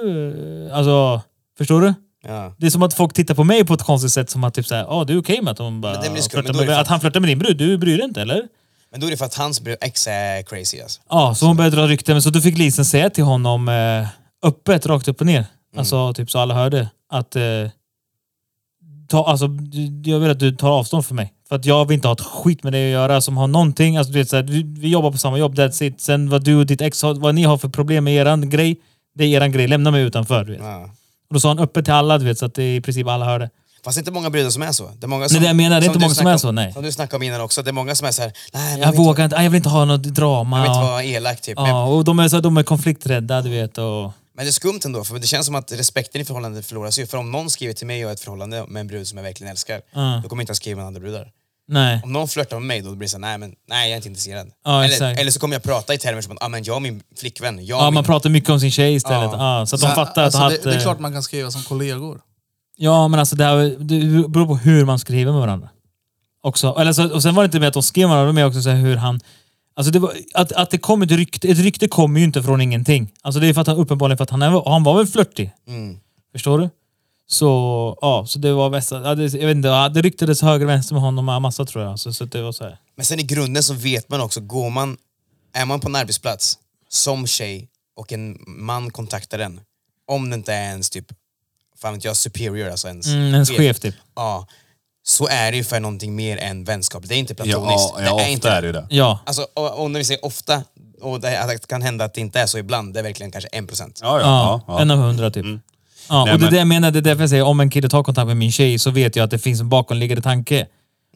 eh, Alltså, förstår du?
Ja.
Det är som att folk tittar på mig på ett konstigt sätt som att typ såhär, ja du är okej med att hon bara
Men det blir skumt,
flörtar
men då
med,
är det
att han flörtar med din brud, du bryr dig inte eller?
Men då är det för att hans br- ex är crazy alltså.
Ja, så hon började dra rykten, men så då fick Lisen säga till honom eh, öppet, rakt upp och
Mm.
ner. Alltså typ så alla hörde att eh, ta, alltså, du- jag vill att du tar avstånd för mig. För att jag vill inte ha ett skit med dig att göra som har någonting, alltså du vet såhär, vi, vi jobbar på samma jobb, that's it. Sen vad du och ditt ex har, vad ni har för problem med eran grej, det är eran grej, lämna mig utanför. Du vet.
Ja.
Och då sa han öppet till alla, du vet, så att det i princip alla hörde.
Fast det är inte många brudar som är så. Det är många som,
Nej, det jag menar, det är
som
inte
du
många som
snackade
är så,
om-
nej.
Som du snackade om innan också, det är många som är såhär, nej men
Jag vågar inte, jag vill inte ha något drama.
Jag vill inte
och-
vara elak typ. Men,
Ja, och de är, så, de är konflikträdda, du vet. Och,
men det är skumt ändå, för det känns som att respekten i förhållandet förloras ju. För om någon skriver till mig och jag har ett förhållande med en brud som jag verkligen älskar,
Ja.
då kommer jag inte att skriva med andra brudar.
nej.
Om någon flörtar med mig då blir det så här, nej men nej jag är inte intresserad.
Ja,
eller,
exakt.
eller så kommer jag prata i termer som att ah, men jag och min flickvän, jag och
Ja,
min...
man pratar mycket om sin tjej istället. Ja.
Ja.
så att de fattar
alltså,
att...
det, det är
eh,
klart man kan skriva som kollegor.
Ja, men alltså det, här, det beror på hur man skriver med varandra. Också. Eller så, och sen var det inte med att de skrev med varandra, men också så här hur han... Alltså det var, att, att det kom ett rykte, ett rykte kommer ju inte från ingenting. Alltså det är för att han, uppenbarligen för att han, är, han var väl flörtig.
Mm.
Förstår du? Så, ja, så det var vässa, ja, det, jag vet inte, ja, det ryktades höger och vänster med honom och massa tror jag. Så, så det var så här.
Men sen i grunden så vet man också, går man, är man på en arbetsplats som tjej och en man kontaktar en, om det inte är ens typ, fan vet jag, superior alltså ens,
Mm, en chef typ.
Ja, så är det ju för någonting mer än vänskap. Det är inte
Ja,
platoniskt.
ja,
det är
ofta
inte
är det ju det.
Ja.
Alltså, och, och när vi säger ofta, och det, att det kan hända att det inte är så ibland, det är verkligen kanske en procent.
Ja, ja,
Ja,
ja, ja.
en av hundra typ.
Mm.
Ja,
Nej,
och det är
men-
det jag menar, det är därför jag säger om en kille tar kontakt med min tjej så vet jag att det finns en bakomliggande tanke.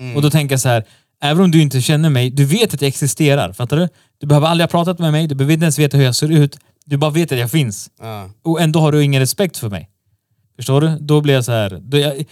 Mm.
Och då tänker jag så här, även om du inte känner mig, du vet att jag existerar. Fattar du? Du behöver aldrig ha pratat med mig, du behöver inte ens veta hur jag ser ut. Du bara vet att jag finns.
Ja.
Och ändå har du ingen respekt för mig. Förstår du? Då blir jag så här... Då jag,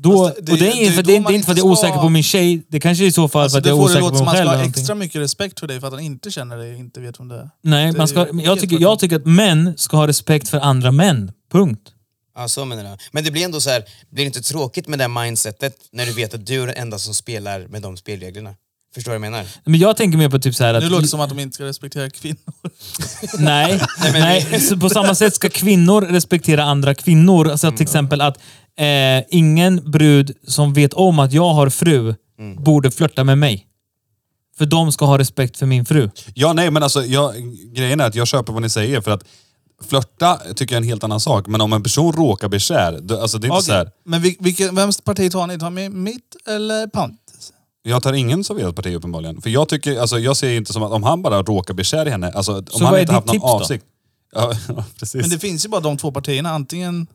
då,
Fast det-
och det är
det är
inte för,
då
det är inte
man
inte för att
inte
jag är osäker
ska-
på min tjej. Det kanske är i så fall
Alltså,
för att jag
det
är
får det
osäker
låta
på
som
mig
att
själv.
han ska
eller
ha
någonting.
extra mycket respekt för dig för att han inte känner dig, inte vet vem det är.
Nej,
Det
man
är
ska,
ju
jag,
helt
tycker, jag tycker att män ska ha respekt för andra män. Punkt.
Ja, så menar jag. Men det blir ändå så här, blir det inte tråkigt med det här mindsetet när du vet att du är den enda som spelar med de spelreglerna? Förstår du vad jag menar?
Men jag tänker mer på typ så här att...
Nu låter det som att de inte ska respektera kvinnor.
Nej, nej. Så på samma sätt ska kvinnor respektera andra kvinnor. Så att
Mm.
till exempel att eh, ingen brud som vet om att jag har fru
Mm.
borde flörta med mig. För de ska ha respekt för min fru.
Ja, nej, men alltså jag, grejen är att jag köper vad ni säger för att flörta tycker jag är en helt annan sak. Men om en person råkar bli kär, då, alltså det är inte så här.
Men vil, vilken, vems parti tar ni? Tar ni mitt eller Pantes?
Jag tar ingen serverad parti uppenbarligen. För jag tycker, alltså jag ser inte som att om han bara råkar bli kär i henne, alltså om
Så
han
vad är
inte
ditt
haft någon
tips då?
avsikt. Ja, ja, precis.
Men det finns ju bara de två partierna, antingen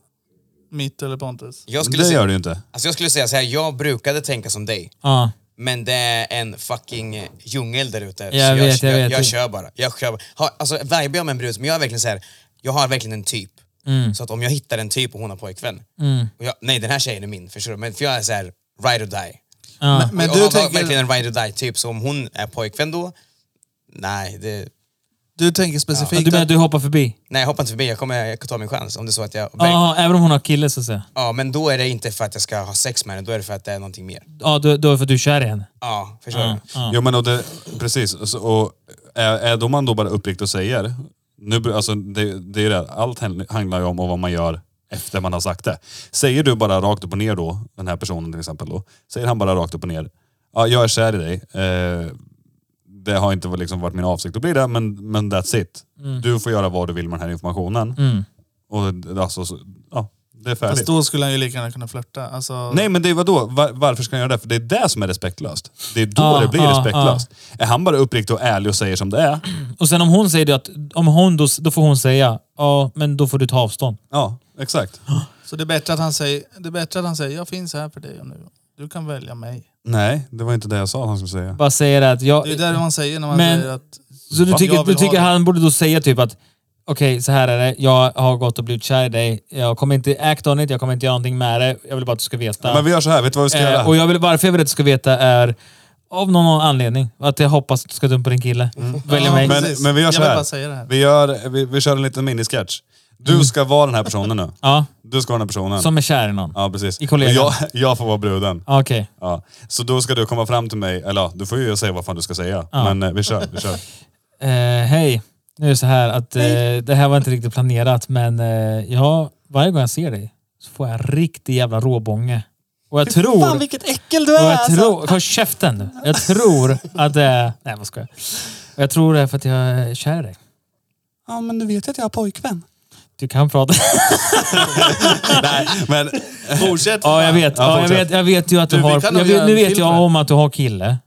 mitt eller Pontus.
Jag
Men
skulle,
det
säga,
gör du ju inte.
alltså jag skulle säga så här, jag brukade tänka som dig.
Ja.
Men det är en fucking djungel där ute. Så
Jag vet, jag
jag,
vet.
jag kör bara. Jag kör bara. Ha, alltså, vibe jag med en brud, men jag är verkligen så här, jag har verkligen en typ. Så att om jag hittar en typ och hon har pojkvän, och jag, nej den här tjejen är min, förstår du? Men för jag är så här, ride or die.
Ja.
Men
jag
du
har
tänker,
verkligen en ride or die typ, så om hon är pojkvän då, nej, det,
du tänker
Ja,
specifikt
du menar att du hoppar förbi?
nej jag hoppar inte förbi, jag kommer jag tar min chans. Om det är så att jag,
Ja, även om hon har kille så att säga.
ja, men då är det inte för att jag ska ha sex med henne, då är det för att det är någonting mer.
Ja, då, då är det för att du är kär i henne.
Ja, förstår du?
Jo men och det, precis. Och Så, och är, är då man då bara uppriktig och säger, nu, br- alltså, det, det är ju det, allt hän- handlar ju om och vad man gör efter man har sagt det. Säger du bara rakt upp och ner då, den här personen till exempel då, säger han bara rakt upp och ner, ja jag är kär i dig, eh, det har inte liksom varit min avsikt att bli det, men, men that's it.
Mm.
Du får göra vad du vill med den här informationen. Och d- alltså, så, ja, det är färdigt.
Fast då skulle han ju lika gärna kunna flörta. Alltså,
Nej men det är vadå? Var, varför ska han göra det? För det är det som är respektlöst. Det är då
Ja,
det blir
ja,
respektlöst. Är han bara uppriktig och ärlig och säger som det är,
Och sen om hon säger det att... Om hon då, då får hon säga ja, men då får du ta avstånd.
ja exakt.
Så det är, bättre att han säger, det är bättre att han säger jag finns här för dig och nu. Du kan välja mig.
Nej, det var inte det jag sa att han skulle säga.
Bara säger att jag...
Det är det man säger när man
Men-
säger att...
Så du
Va?
tycker, du
Jag vill ha
tycker
det.
han borde då säga typ att okej, så här är det. Jag har gått och blivit kär i dig. Jag kommer inte act on it. Jag kommer inte göra någonting med det. Jag vill bara att du ska veta.
Men vi gör så här, vet du vad vi ska
eh,
göra?
och jag vill, varför jag vill att du ska veta är av någon anledning. Att jag hoppas att du ska dumpa din kille. Välja mig.
men,
precis.
men vi gör
Jag
så
vill
här.
bara säga det här.
Vi, gör, vi, vi kör en liten minisketch. Du ska vara den här personen nu.
ja,
Du ska vara den här personen.
som är kär i någon.
Ja, precis.
I kollegan.
Och Jag, jag får vara bruden.
Ja. Okej.
Ja. Så då ska du komma fram till mig, eller ja, du får ju säga vad fan du ska säga. Men eh, vi kör, vi kör.
Eh, hej. Nu är det så här att eh, det här var inte riktigt planerat men eh, ja, varje gång jag ser dig så får jag en riktig jävla råbånge. Och jag tror...
vilket äckel du
Och jag
alltså.
tror... Håll käften nu. Jag tror att det är... Nej, vad ska jag? Och Jag tror det är för att jag är kär i dig.
Ja, men du vet att jag har pojkvän.
Du kan prata.
Nej, men...
Fortsätt!
Ja, jag vet.
Ja,
Ja, jag,
fortsätt.
vet jag vet ju att du,
Du, vi
har...
kan
Jag
nog göra
vet, nu vet
en film
jag
på det.
om att du har kille.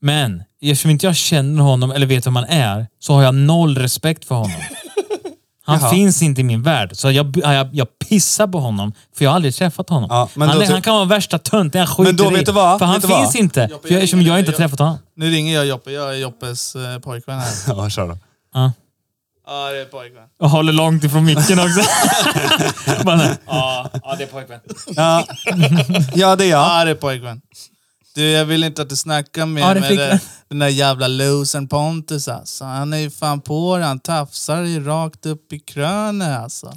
Men eftersom inte jag känner honom eller vet vem han är så har jag noll respekt för honom. Han finns inte i min värld. Så jag, jag, jag pissar på honom för jag har aldrig träffat honom.
Ja, men
han,
då
är-
ty-
han kan vara värsta tönten. Jag skiter
Men då
i.
vet du vad?
För han
Vet du vad?
finns inte. För jag, eftersom jag inte har träffat honom.
Nu ringer jag Joppe. Jag är Joppes eh, pojkvän här.
Ja, kör då.
Ja.
ja, det är pojkvän.
Och håller långt ifrån micken också. Bara, nej. ja, ja, det är pojkvän.
Ja, ja det är jag.
Ja, det är pojkvän. Du, jag vill inte att du snackar mer
Ja, det är
med
flickvän.
det, den där jävla losern Pontus alltså. Han är ju fan på det. Han tafsar ju rakt upp i krönet alltså.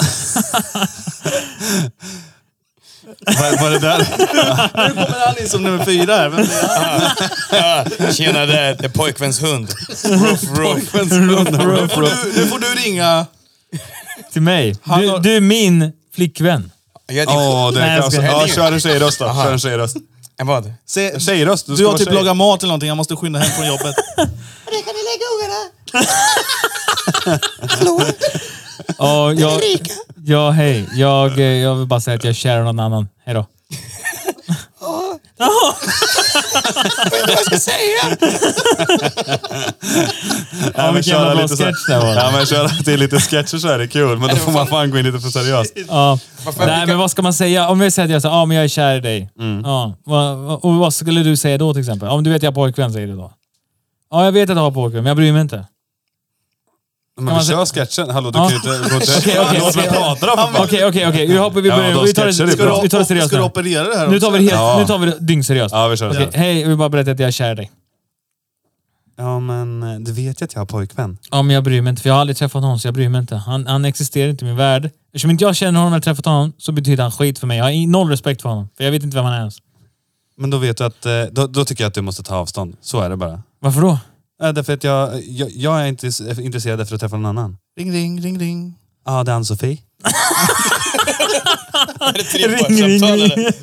Vad var det där?
Nu kommer han in som nummer fyra här. Vem är han?
Tjena, det är, det är pojkväns hund.
Nu får du, nu får du ringa.
Till mig. Du,
har-
du är min flickvän.
Jag är din
Åh, det
Nej,
är
jag
klassen.
ska-
Ja, kör en tjejröst då. Kör en tjejröst.
En vad?
Se,
Tjejröst. ska
du har
vara
typ
tjej.
lagat mat eller någonting, jag måste skynda hem från jobbet.
Ja, jag, ja, hej. Jag, eh, jag vill bara säga att jag är kär i någon annan. Hej då.
Vad ska jag säga?
Ja, men
vilken
köra
jävla
lite
bra sketch
så här-
det var.
Ja, men köra till lite sketcher så är det kul. Men då får man fan gå in lite för seriöst.
Ja.
Varför-
Nej, men vad ska man säga? Om jag säger att jag säger, ja, men jag är kär i dig. Ja. Vad- vad- Och vad skulle du säga då till exempel? Om du vet att jag har pojkvän, säger du då? Ja, jag vet att jag har påkvän, men jag bryr mig inte.
Men vi kör sketchen. Hallå, du kan ju inte... gå till-
Alltså- Okej, okej,
Låt mig
okej.
prata då för fan.
Okej, okej, okej. Vi hoppar, vi
Ja,
börjar.
de
Vi tar
sketcher är
det,
bra.
ska, vi tar det seriöst
Ska du
nu.
operera det här
Nu
också?
tar vi det, helt,
Ja.
nu tar vi det dygnseriöst.
Ja, vi kör.
Okej, hej, jag vill bara berätta att jag är kär i dig.
Ja, men eh, du vet ju att jag har pojkvän.
Ja, men jag bryr mig inte, för jag har aldrig träffat honom, så jag bryr mig inte. Han, han existerar inte i min värld. Eftersom inte jag känner honom eller träffat honom, så betyder han skit för mig. Jag har in- noll respekt för honom, för jag vet inte vem han är ens.
Men då vet du att... eh, Då, då tycker jag att du måste ta avstånd. Så är det bara.
Varför då?
Äh, därför att jag, jag, jag är inte s- intresserad efter att träffa någon annan.
Ring, ring, ring, ring.
Ja, det är Ann-Sofie.
Är det trippelsamtal eller?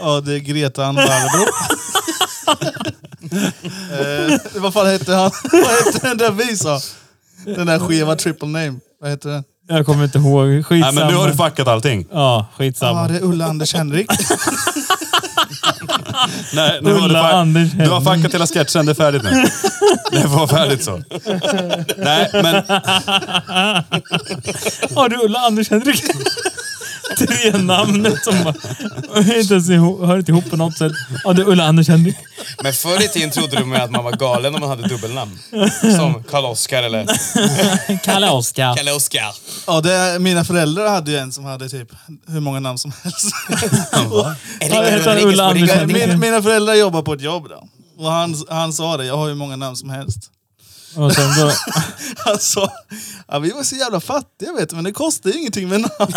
Ja, det är Greta Barbro. eh, vad fan hette han? Vad hette den där vi sa? Den där skeva triple name. Vad hette den?
Jag kommer inte ihåg.
Nej,
Skitsamma.
men nu har du fuckat allting.
Ja,
Ja,
skitsamma.
det är Ulla Anders Henrik.
Nej, nu har du,
Ulla Anders
fuck, du har
Henning.
fuckat hela sketchen, det är färdigt nu. Det var färdigt så. Nej, men
Har du Ulla Anders Henrik? Tre namnet som bara... Inte ens ihop, hör inte ihop på något sätt. Ja, det är Ulla Anders Henrik.
Men förr i tiden trodde de ju att man var galen om man hade dubbelnamn. Som Karl-Oskar eller
Kalle Oskar.
Kalle-Oskar.
Ja, det är, mina föräldrar hade ju en som hade typ hur många namn som helst.
Ja, det heter Ulla Andersson.
Min, mina föräldrar jobbar på ett jobb då. Och han, han sa det, jag har ju många namn som helst.
Och sen så...
Han sa, ja, vi var så jävla fattiga vet du, men det kostar ju ingenting med namn.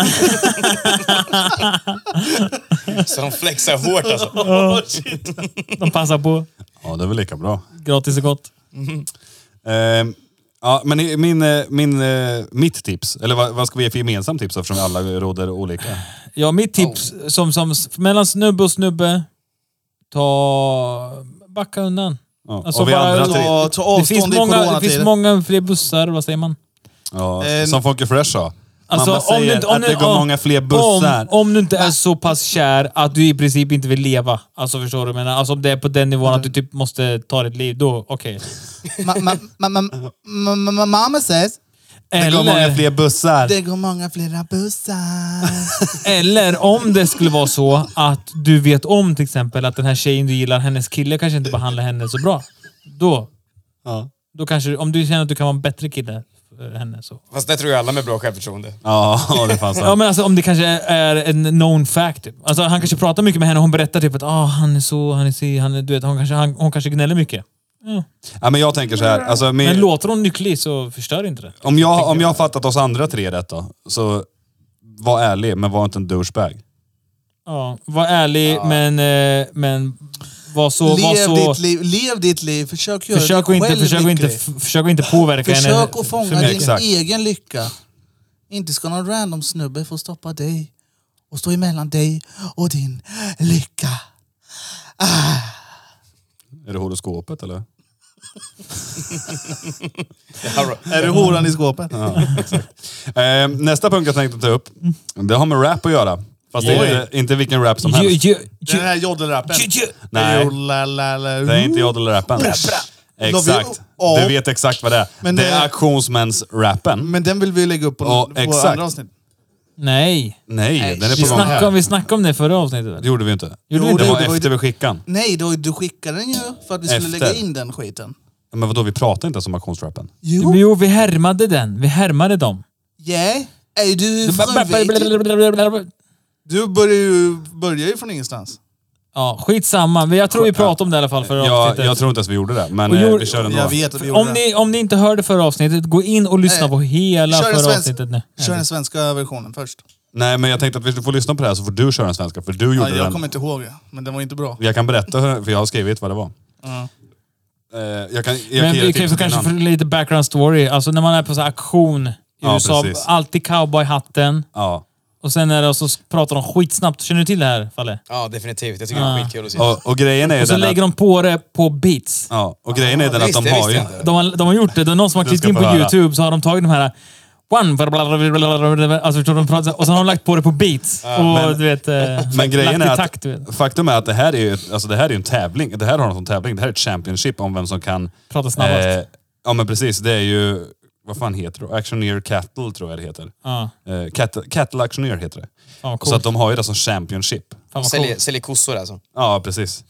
Så de flexar hårt alltså.
De passar på.
Ja, det är väl lika bra.
Gratis och gott.
Ehm, ja, men i- min, eh, min, eh, mitt tips, eller vad, vad ska vi ge för gemensamt tips eftersom vi alla råder olika?
Ja, mitt tips som, som s- mellan snubbe och snubbe. Ta... Backa undan.
Ja.
Alltså
och vi
bara-
andra tre,
Ta, ta
Det finns,
avstånd i
många, det
coronatider.
finns många fler bussar, vad säger man?
ja,
en-
som Folke Fresh sa.
Ehm, Alltså,
Mamma säger att det går
ja,
många fler bussar.
Om, om du inte är så pass kär att du i princip inte vill leva. Alltså förstår du? vad jag menar? alltså om det är på den nivån att du typ måste ta ditt liv, då okej.
Ma- ma- ma- ma- ma- ma- ma- Mamma säger
det går många
Eller,
fler bussar.
det går många flera bussar.
eller om det skulle vara så att du vet om till exempel att den här tjejen du gillar, hennes kille kanske inte behandlar henne så bra. Då,
Ja.
då kanske, om du känner att du kan vara en bättre kille för henne så.
Fast det tror ju alla med bra självförtroende.
Ja, det fanns
Ja men alltså om det kanske är en known fact. Typ. Alltså han kanske pratar mycket med henne och hon berättar typ att ah, han är så, han är si, han är, du vet, hon kanske, han, hon kanske gnäller mycket.
ja, men jag tänker så här. Alltså, med,
Men låter hon lycklig så förstör inte det.
Om jag, om jag har fattat oss andra tre rätt då, så var ärlig men var inte en douchebag.
Ja, var ärlig men, eh, men var så... Var
Lev
så
ditt liv, lev ditt liv. Försök göra
försök, att
dig
inte,
själv
försök, att inte,
lycklig.
f- försök att inte påverka henne.
Försök att fånga
mycket.
din
Exakt.
egen lycka. Inte ska någon random snubbe få stoppa dig och stå emellan dig och din lycka.
Är det horoskopet eller?
Är du horan i skåpet?
Eh, nästa punkt jag tänkte ta upp, det har med rap att göra. Fast det är inte, inte vilken rap som
Ju-
helst.
ju- ju-
Den här jodelrappen.
ju- ju-
Nej, det är
Nej.
inte jodelrappen. Exakt.
Ja.
Du vet exakt vad det är.
Men
det
det-
är auktionsmäns-rappen.
Men den vill vi lägga upp på,
Ja,
på
exakt.
andra avsnitt.
Nej.
Nej, den är
Vi
på gång
snackade, om,
här.
vi snackade om det i förra avsnittet.
Det
väl?
gjorde vi inte.
Gjorde vi
det
inte?
var
Det var ju-
efter vi skickade.
Nej, då, du skickade den ju för att vi skulle
Efter.
lägga in den skiten.
Men vadå, vi pratade inte ens om auktionsrappen.
Men Jo, vi härmade den. Vi härmade dem.
Yeah. Är du från Du börjar ju, börjar ju från ingenstans.
Ja, skitsamma. Men Jag tror vi pratade om det i alla fall förra
Jag,
avsnittet.
jag tror inte ens vi gjorde det, men
Och
eh,
gjorde-
vi kör den
Jag
då.
vet att vi gjorde
Om ni, om ni inte hörde förra avsnittet, gå in och lyssna
Nej.
på hela
Kör den,
förra
svensk,
avsnittet nu.
kör den svenska versionen först.
Nej, men jag tänkte att vi får lyssna på det här så får du köra den svenska, för du
Ja,
gjorde
jag
den.
kommer inte ihåg det, men den var inte bra.
Jag kan berätta, hur- för jag har skrivit vad det var. Eh, Jag kan, jag kan
Men
ge dig
vi kan
tips
ju kanske
innan.
få lite background story. Alltså när man är på så här auktion i
Ja,
USA,
precis.
alltid cowboyhatten.
Ja.
Och sen är det, så pratar de skitsnabbt. Känner du till det här, Falle?
Ja, definitivt. Jag tycker det
Ah.
är skitkul att se.
Och, och grejen är ju
Och så
den att,
lägger de på det på beats.
ja, och grejen är den
det
att de
visste jag,
har ju...
visste jag
De har, de har gjort det. Det är någon som har
Du
klippt
ska
in
få
på
höra.
YouTube så har de tagit de här... One... Alltså, förstår du, de pratar, och så har de lagt på det på beats. och
men-
du vet... eh,
Men grejen
lagt i
är
takt, du vet.
att, faktum är att det här är ju ett- alltså det här är ju en tävling. Det här har de som tävling. Det här är ett championship om vem som kan... eh,
Prata snabbast.
ja men precis, det är ju... Vad fan heter det? Actioneer Cattle tror jag det heter.
Ja.
Eh, Cat- Cattle Actioneer heter det.
Fan vad coolt.
Så att de har ju det som championship.
Fan vad
Säljer,
coolt.
säljer kossor alltså.
Ja, precis.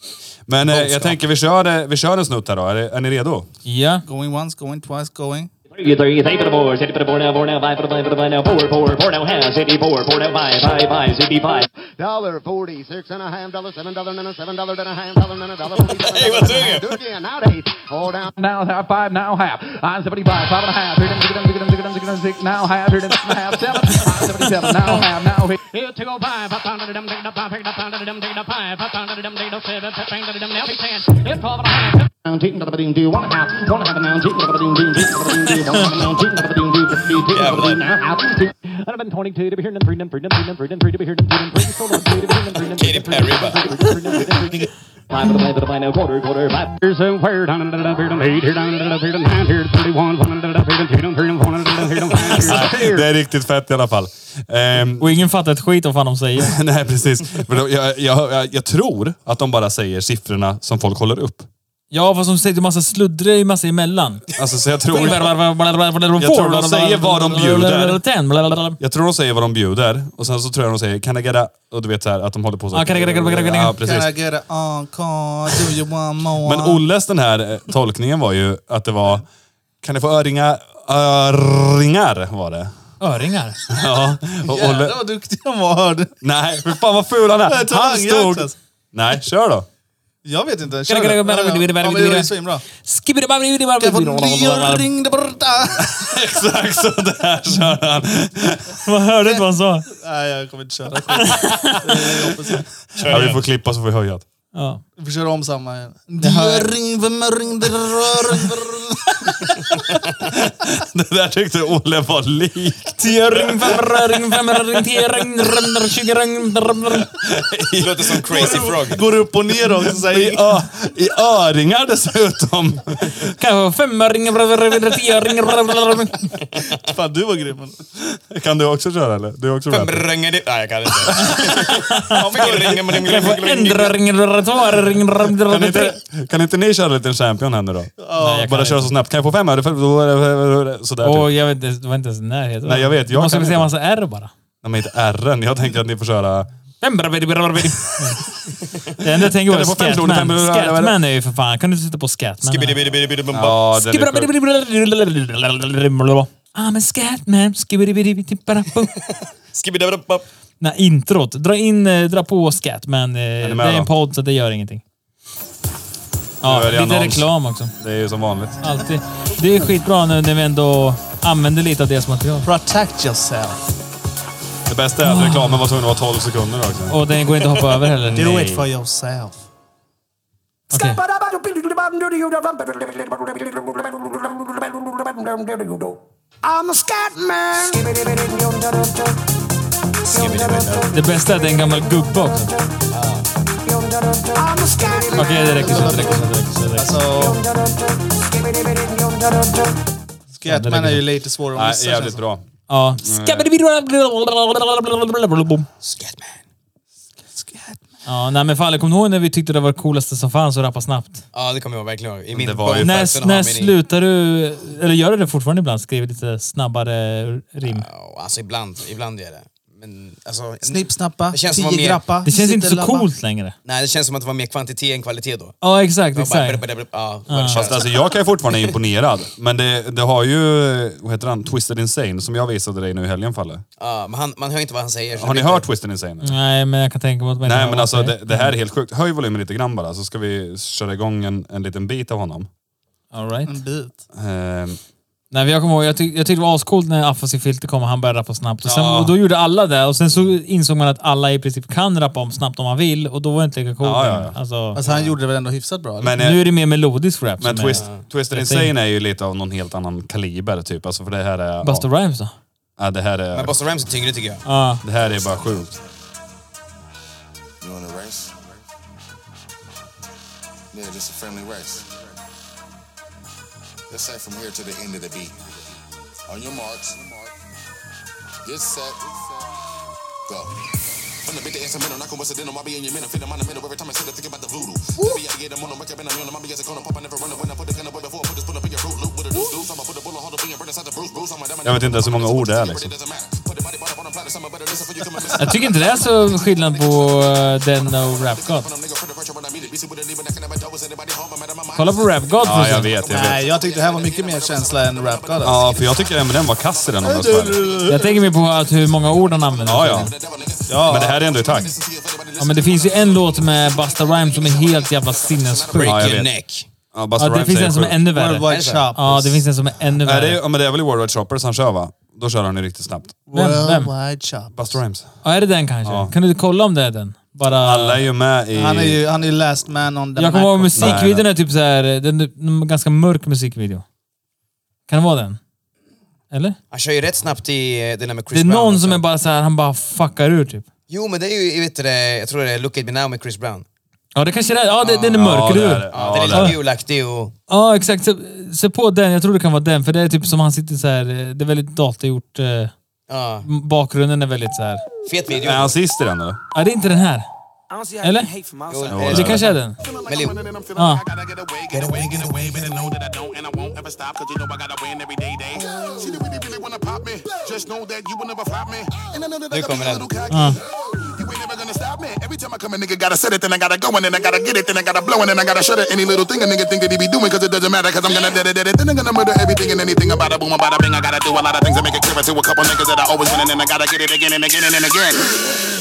Men eh, jag
Boskap.
tänker vi kör, eh, vi kör en snutt här då. Är, är ni redo?
Ja.
Going once, going twice, going.
You three, three for the four, city for the four now, four now, five for the five for the five now, four, four, four now, half, city four, four now, five, five, five, city five.
Dollar forty six and a half, dollar seven, dollar nine, seven, dollar and a half, dollar nine, dollar forty seven.
Hey, what's doing it?
Do it again, nowadays. All down.
now half five now half I'm 75 five and a half here them six them six them six them six them six now half here them six and a half seven I'm 77 now half now here
Here to go five, up down to the dum, dig it up, five, pick it up, down to the dum, dig it up, five, up down to the dum, dig it up, seven, up down to the dum, now be ten. Here twelve and a half. Down, tick, da, da, ba, ding, do, one and a half, one and a half, down, tick, da, da, ba, ding, do, tick, da, da, ba, ding, do, one and a half, down, tick, da, da, ba, ding, do, tick, da, tick, da, ba, ding, now half, tick. And I've been 22 to be here, and freedom, freedom, freedom, freedom, freedom, freedom, freedom, freedom, freedom, freedom, freedom, freedom,
Katy Perry bara.
Five of the five of the five now quarter quarter five. Here's a where down and up here down eight here down and up here down nine here thirty one one and up here down two down here down one and up here down five here.
Det är riktigt fett i alla fall. Ehm,
Och ingen fattar ett skit om vad de säger.
nej, precis. Men de- jag, jag, jag, jag tror att de bara säger siffrorna som folk håller upp.
Ja, fast de säger ju massa sluddre i massa emellan.
Alltså, så jag tror...
Jag
tror de säger vad de bjuder. Jag tror de säger vad de bjuder och sen så tror jag de säger kan I get a... Och du vet så här att de håller på så.
Ah,
Ja, can I get a- can I get a- can I get a-
Ja, precis.
Can I get an encore? Do you want more?
Men Olles den här eh, tolkningen var ju att det var kan ni få öringar? Öringar var det.
Öringar.
Ja. Och Olle,
Jävlar vad duktig han var. hörde.
nej, för fan vad ful han
Nej,
är.
ta
Han
en alltså.
stod...
jäklas.
Nej, kör då.
Jag vet inte.
Kan
Kör
jag-
den.
kan jag-
Ja, ja. Ja, men det var ju svinbra. Jag får en ring där borta.
Exakt så där kör han.
Man hörde inte vad han sa.
Nej, jag kommer inte köra skit.
Ja, vi får klippa så får vi höja. det.
Ja.
Vi får köra om samma igen. Jag ring, vem jag ringde, rör, rör.
Det där tyckte Olle var likt.
Tering, femra, ring, femra, ring, tering, römmer, tjugo, ring, römmer.
Det låter som Crazy Frog.
Går upp och ner också. Så
I,
här,
ö, I öringar dessutom.
Kanske femma, ring, römmer, römmer, tio, ring, römmer, römmer.
Fan, du var grym.
Kan du också köra eller? Du är också rapper.
Bränga det- Nej, jag kan inte.
Ändra, ring, römmer, två, ring, römmer,
Kan
römmer, tre.
inte, kan inte ni köra en liten champion här nu då?
Nej, jag
Bara
kan
köra så
inte.
snabbt. Kan jag få fem öre? För- Sådär typ.
Åh, jag vet inte, det var inte ens i närheten.
Nej, jag vet, jag
Du måste
kan
väl säga
inte.
massa R bara.
Nej men inte R'n. Jag tänker att ni får köra...
Fem, römmer, römmer, römmer. Det enda jag tänker på är
Kan jag få fem kronor? Fem
Scatman.
kronor, eller?
Scatman är ju för fan... Kan du inte sitta på Scatman?
Ja, den är sjuk.
I'm a scatman, skibidi-bidi-bidi-bara-bo. Nej, introt. Dra in, eh, dra på Scatman. eh,
du
Det
med
är
då?
en podd så det gör ingenting. Ja,
Nu är det
lite
annons.
reklam också.
det är ju som vanligt.
Alltid. Det är skitbra nu när vi ändå använder lite av deras material.
Protect yourself.
Det bästa är att reklamen var tvungen att vara 12 sekunder också.
Och den går inte att hoppa över heller.
Do
Nej.
it for yourself.
Okej.
I'm a scat man.
Det bästa är att det är en gammal gubbe också.
I'm a scat man.
Okej, det räcker så. Det räcker så. Det räcker så. Det räcker så.
Så,
Okay.
Scatman är ju lite svårare att
Nej,
missa. känns
jävligt
det.
bra.
Ja.
Scatman.
Ja, nej men Falle, kommer du ihåg när vi tyckte det var det coolaste som fanns att rappa snabbt?
Ja, det kommer jag verkligen ihåg. I min
det var ju
barnfest,
När,
en halv
när
mening.
slutar du, eller gör du det fortfarande ibland? Skriver lite snabbare rim?
Ja, alltså ibland, ibland gör jag det. Men alltså...
Snipp, snappa,
Det känns som att
tio
mer-
grappa.
Det känns inte så
sittelabba.
coolt längre.
Nej, det känns som att det var mer kvantitet än kvalitet då.
Ja, exakt,
Det var bara-
exakt.
Ja, bara
Fast
köra.
alltså jag kan ju fortfarande vara imponerad. Men det, det har ju, vad heter han, Twisted Insane som jag visade dig nu i helgen Falle.
Ja, men han, man hör inte vad han säger. så
Har ni
det blir-
hört Twisted Insane?
Nej, men jag kan tänka mig att man inte
Nej
har
men
varit
alltså
där.
det, det här är helt sjukt. Höj volymen lite grann bara så ska vi köra igång en, en liten bit av honom.
All right.
En bit.
Ehm,
Nej, men jag kommer ihåg, jag, tyck, jag tyckte det var ascoolt när Affas i filter kom och han började rappa snabbt. Och, sen,
Ja.
och då gjorde alla det och sen så insåg man att alla i princip kan rappa om snabbt om man vill och då var det inte lika coolt
Ja, ja, ja.
längre. Alltså,
Alltså han gjorde det väl ändå hyfsat bra? eller?
Men, eh,
Nu är det mer melodisk rap.
men
som
twist,
är-
Twisted
jag tänker-
Insane är ju lite av någon helt annan kaliber typ. Alltså för det här är...
Busta
ja,
Rhymes då?
ja, det här är...
Men Busta Rhymes är tyngre tycker jag.
Ja.
Det här är bara sjukt.
You want a race? Yeah, just a friendly race. Let's say from here to the end of the beat. On your marks, get set, go. From the bit to instrumental, knock on incidental, I'll be in your minute, feeling monumental every time I sit there thinking about the voodoo. Let me out get them on them, wake up and I'm on them, I'll be as a corner, pop, I never run up when I put the gun away before I put this bullet up in your root loop with a deuce deuce. I'ma put the bullet hold up in your brain inside the bruise bruise. I'm a diamond.
Jag vet inte ens hur många ord det är liksom.
Doesn't matter. Put the body, bottom, bottom, platter, summer, better listen for you coming missing.
Jag tycker inte det är så skillnad på eh, den och Rap God. Kolla på Rap God
Ja, jag
exempel.
vet. Jag vet.
Nej, jag tyckte det här var mycket mer känsla än rap god. alltså.
Ja, för jag tycker Eminem var kass i den om jag ska vara ärlig.
Jag tänker mer på att hur många ord han använder.
Ja, ja.
Ja.
Men det här är ändå i takt.
Ja, men det finns ju en låt med Busta Rhymes som är helt jävla sinnessjuk.
Ja,
Break
jag
your
vet.
neck.
Ja, Busta
Ja, det
Rhymes
finns en som är
sjuk.
ännu värre.
Worldwide shop.
Ja, det finns en som är ännu
Nej, det är,
värre.
ja, men det är väl i Worldwide Shoppers han kör va? Då kör han ju riktigt snabbt.
Vem? Vem?
Worldwide shop.
Busta Rhymes.
Ja, är det den kanske? Kan du kolla om det är den? Bara...
Alla är ju med i...
Han är ju han är ju last man on the
Jag kommer ihåg
Mac.
musikvideon är typ så här, den är en ganska mörk musikvideo. Kan det vara den? Eller?
Han kör ju rätt snabbt i eh, den där med
Det
Chris
är
Brown.
någon
också.
som är bara så här, han bara fuckar ur typ.
Jo men det är ju, jag vet det, jag tror det är Look at me now med Chris Brown.
Ja, det kanske det är. Ja, det, den är
Ja, det är
mörkgrön.
det.
Ja,
Ja,
den är liksom
det är
lite
det.
gulaktig och...
Ja, exakt. Se, se på den. Jag tror det kan vara den. För det är typ som han sitter så här. eh, Det är väldigt datagjort. eh,
Ja.
m- Bakgrunden är väldigt så här.
Fet
Är
video.
han sist i den eller?
Ja, det är inte den här.
I don't see how
Eller?
you can hate from outside.
Jo, eh,
Det kanske är den.
Melio.
Ja.
Nu kommer den.
Gotta set it, then I gotta go, and then I gotta get it, then I gotta blow, and then I gotta shut it. Any little thing a nigga think that he be doing, cause it doesn't matter, cause I'm gonna dead it, dead it. Then I'm gonna murder everything and anything about a boom, about a bing. I gotta do a lot of things to make it clear to a couple niggas that I always win, and then I gotta get it again and again and again.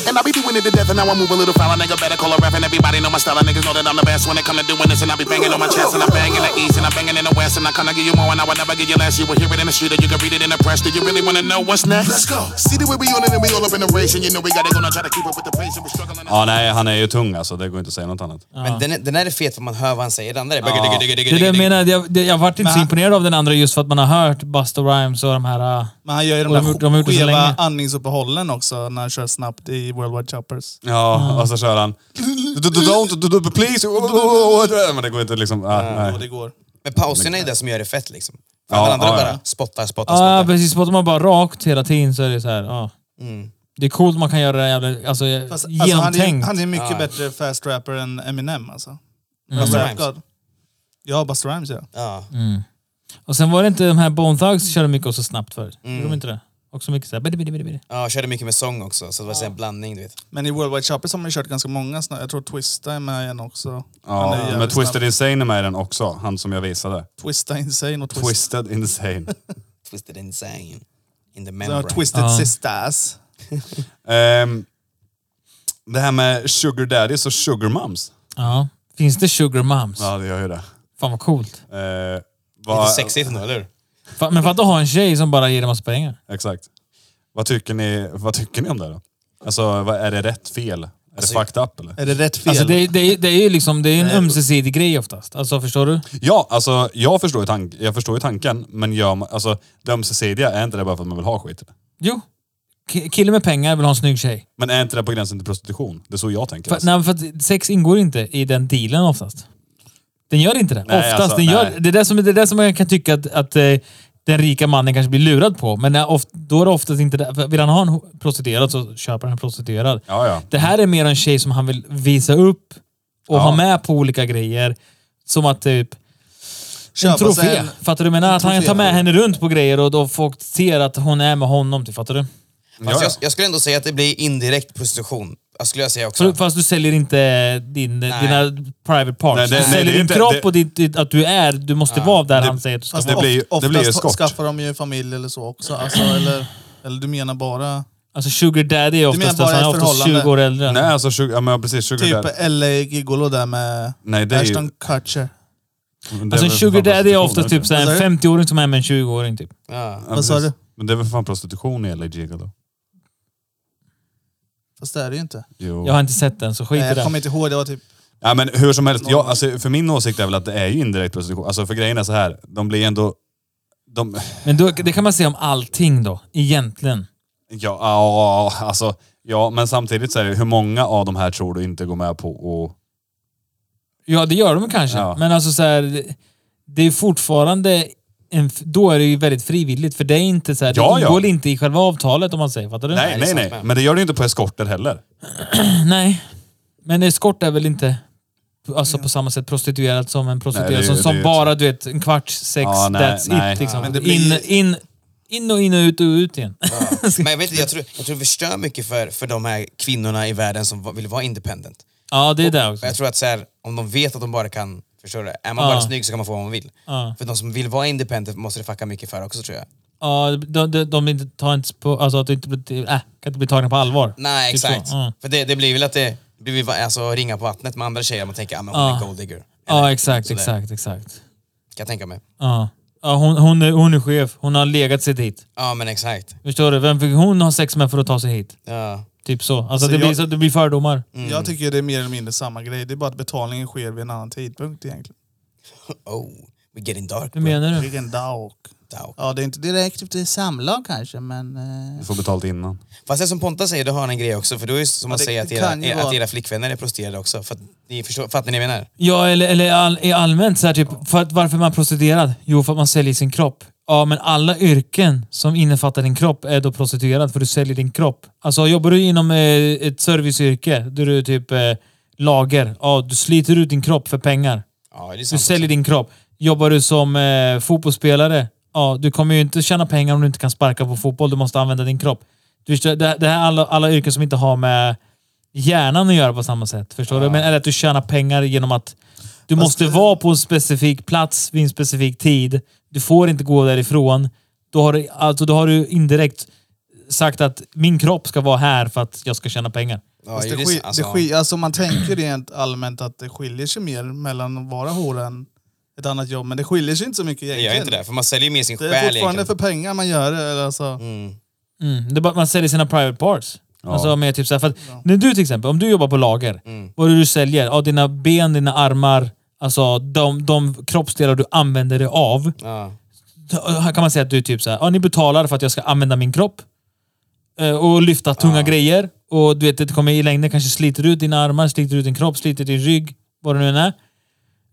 And I be doing it to death, and now I move a little foul. A nigga better call a rap, and everybody know my style. And niggas know that I'm the best when it come to doing this, and I be banging on my chest, and I bang in the east, and I banging in the west, and I kinda give you more, and I will never give you less. You will hear it in the street, or you can read it in the press. Do you really wanna know what's next? Let's go. See the way we on it, and we all up in the race, and you know we gotta gonna try to keep up with the pace, and we're struggling.
Ja, nej, han är ju tung alltså. Det går inte att säga något annat.
Men den, är- den här är fet för man hör vad han säger. Den andra är bara...
Ja.
digga, digga, digga,
Det är det jag
digga, digga.
menar. Jag, det, jag varit inte så imponerad av den andra just för att man har hört Busta Rhymes och de här... eh,
Men han gör ju de
Och de har gjort- de har
där
gjort det så
skeva
länge.
andningsuppehållen också när han kör snabbt i Worldwide Choppers.
Ja, och så kör han... Don't, do- do- please... oh, Men det går inte liksom... ah,
Och det
Nej.
går.
Men pauserna är det som gör det fett liksom. För
Ja,
den andra
ja, ja.
bara spottar, spottar,
Ja,
spottar.
precis. Spottar man bara rakt hela tiden så är det så här. Ja. Det är coolt man kan göra det jävla... Alltså,
Fast, alltså, han, är,
genomtänkt. Mm.
han är mycket bättre fast rapper än Eminem alltså.
Busta
Rap
Rhymes.
God. Ja, Busta Rhymes ja.
Ja.
Och sen var det inte de här Bone Thugs som körde mycket och så snabbt förut. Gjorde de inte det? Också mycket så här... bidi, bidi, bidi, bidi.
Ja, jag körde mycket med sång också, så det var så här en blandning du vet.
Men i Worldwide Choppers har man ju kört ganska många snabbt. Jag tror Twista är med igen också. Han är
Ja,
jävligt
men
snabb.
Twisted Insane är med i den också. Han som jag visade.
Twista Insane och Twista.
Twisted Insane.
Twisted insane. In
Ja,
the membrane.
Twisted
Ja.
Sisters.
Ehm, det här med Sugar Daddies och Sugar Mums.
Ja. Finns det Sugar Mums?
Ja, det gör ju det.
Fan vad coolt.
Ehm,
Lite
vad,
sexigt ändå, eller hur?
Fa- Men fatta att ha en tjej som bara ger dig massa pengar.
Exakt. Vad tycker ni, vad tycker ni om det då? Alltså, vad, är det rätt, fel? Är
Alltså,
det fucked up eller?
Är det rätt fel?
Alltså det, är- det, är- det är ju liksom, det är en ömsesidig grej oftast. Alltså förstår du?
Ja, alltså jag förstår ju, tank, jag förstår ju tanken, men gör man, alltså, det ömsesidiga, är inte det bara för att man vill ha skit?
Jo. Ki- Kille med pengar vill ha en snygg tjej.
Men är inte det på gränsen till prostitution? Det är så jag tänker.
För,
alltså.
nej, men för att sex ingår inte i den dealen oftast. Den gör inte det.
Nej,
oftast.
alltså,
den gör,
nej.
det, är det, som, det är det som jag kan tycka att, att eh, den rika mannen kanske blir lurad på. Men när oft, då är det oftast inte det. För Vill han ha en ho- prostituerad så köper han en prostituerad.
Ja, ja.
Det här är mer en tjej som han vill visa upp och
Ja.
ha med på olika grejer. Som att typ...
Köpa
en
sig
trofé.
en-
Alltså,
Fattar du? Jag menar att han
trofé.
tar med henne runt på grejer och då folk ser att hon är med honom. Typ, fattar du?
Fast
Ja, ja.
jag, jag skulle ändå säga att det blir indirekt prostitution. Jag skulle jag säga också.
För, fast du säljer inte din, dina private parts.
Nej, det-
du
nej,
säljer
det är
din
inte-
kropp
det-
och ditt, ditt, att du är, du måste vara där han säger att du ska
Fast
vara.
det Alltså- blir ju-
Alltså, oftast
det blir ju skott.
skaffar de ju familj eller så också. Alltså,
Mm.
eller, eller du menar bara...
Alltså sugar daddy är oftast, alltså,
bara
han är
ett
oftast
förhållande?
20 år äldre. Alltså,
Nej, alltså, sugar, ja, men precis, sugar
Typ
daddy.
LA Gigolo där med
Nej, det är ju-
Ashton Kutcher.
Men det
Alltså en
väl för fan
sugar daddy är
prostitution,
oftast
eller?
typ såhär,
Vad
en
sa
50-åring som är med en 20-åring. Typ.
Ja.
Ja,
Vad sa
precis.
du?
Men det är väl fan prostitution i LA Gigolo?
Fast det är det ju inte.
Jo.
Jag har inte sett den, så skit
Nej,
i
jag
den.
kommer inte ihåg, det var typ...
Ja men hur som helst, jag, alltså, för min åsikt är väl att det är ju indirekt prostitution. Alltså för grejen är så här, de blir ändå... De,
Men då, det kan man säga om allting då, egentligen.
ja, ja, alltså, ja, men samtidigt så är det hur många av de här tror du inte går med på och...
Ja, det gör de kanske.
Ja.
Men alltså så här, det är fortfarande... En, f- då är det ju väldigt frivilligt, för det är inte så här,
Ja,
det
ja.
ingår inte i själva avtalet om man säger. Fattar du?
Nej, nej, nej. Men det gör du inte på eskorter heller.
Nej. Men eskort är väl inte alltså, på samma sätt prostituerat som en prostituerad
Nej, det är ju-
som, som
det är ju-
bara du vet en kvarts sex,
Ja, nej,
that's
nej.
it. Liksom.
Men det blir-
in, in, in och in och ut och ut igen.
Men jag vet inte, jag tror, jag tror det förstör mycket för, för de här kvinnorna i världen som va- vill vara independent.
ja, det är det också.
För jag tror att så här, om de vet att de bara kan, förstår du? Är man
Ja.
bara snygg så kan man få vad man vill.
Ja.
För de som vill vara independent måste det fucka mycket för också tror jag.
Ja, de, de, de inte tar inte på, alltså att du inte blir, äh, kan inte bli tagna på allvar.
Nej
Typ så.
exakt.
Ja.
För det, det blir väl att det blir väl, alltså, ringa på vattnet med andra tjejer, man tänker ah, men hon
Ja.
är gold digger.
Ja, exakt,
Sådär.
exakt, exakt.
Kan jag tänka mig.
Ja. Ja, hon, hon, är, hon är chef. Hon har legat sig dit.
Ja men exakt.
Förstår du? Vem fick hon ha sex med för att ta sig hit?
Ja.
Typ så. Alltså, det, blir,
jag-
så, det blir fördomar.
Mm.
Jag tycker det är mer eller mindre samma grej. Det är bara att betalningen sker vid en annan tidpunkt egentligen.
Oh, we getting dark.
Hur menar du?
Vilken dag.
Dark.
Ja, det är inte direkt efter samlag kanske, men... eh,
Du får betalt innan.
Fast det som Ponta säger, det har han en grej också. För då är det som att
det
säga att
kan ju
era,
vara-
att era flickvänner är prostituerade också. För att ni förstår, fattar ni vad jag menar?
Ja, eller, eller all, i allmänt så här typ, för att, varför är man prostituerad? Jo, för att man säljer sin kropp. Ja, men alla yrken som innefattar din kropp är då prostituerad för du säljer din kropp. Alltså jobbar du inom eh, ett serviceyrke, då är du typ eh, lager. Ja, du sliter ut din kropp för pengar.
Ja, det är
Du
sant.
säljer din kropp. Jobbar du som eh, fotbollsspelare, ja, du kommer ju inte tjäna pengar om du inte kan sparka på fotboll. Du måste använda din kropp. Du förstår, det, det här är alla, alla yrken som inte har med hjärnan att göra på samma sätt. Förstår du? Men, eller att du tjänar pengar genom att du måste vara på en specifik plats vid en specifik tid. Du får inte gå därifrån. Då har, du- alltså, då har du indirekt sagt att min kropp ska vara här för att jag ska tjäna pengar.
Ja,
Fast
ju,
det
det är
skil-
sant. Alltså,
det skil- alltså man tänker rent allmänt att det skiljer sig mer mellan att vara hora än ett annat jobb, men det skiljer sig inte så mycket
det
egentligen.
gör ju inte det, för man säljer ju mer sin
Det
själ
är fortfarande
egentligen.
för pengar man gör det. Eller alltså.
Mm. Det är bara, att man säljer sina private parts. Alltså med typ så här, för att, När du till exempel, om du jobbar på lager, vad är det du säljer? Ja, dina ben, dina armar, alltså de, de kroppsdelar du använder dig av.
Ja.
Då- Här kan man säga att du typ så här, ja, ni betalar för att jag ska använda min kropp. eh, Och lyfta tunga grejer. Och du vet, det kommer i längden kanske sliter ut dina armar, sliter ut din kropp, sliter ut din rygg. Vad det nu än är.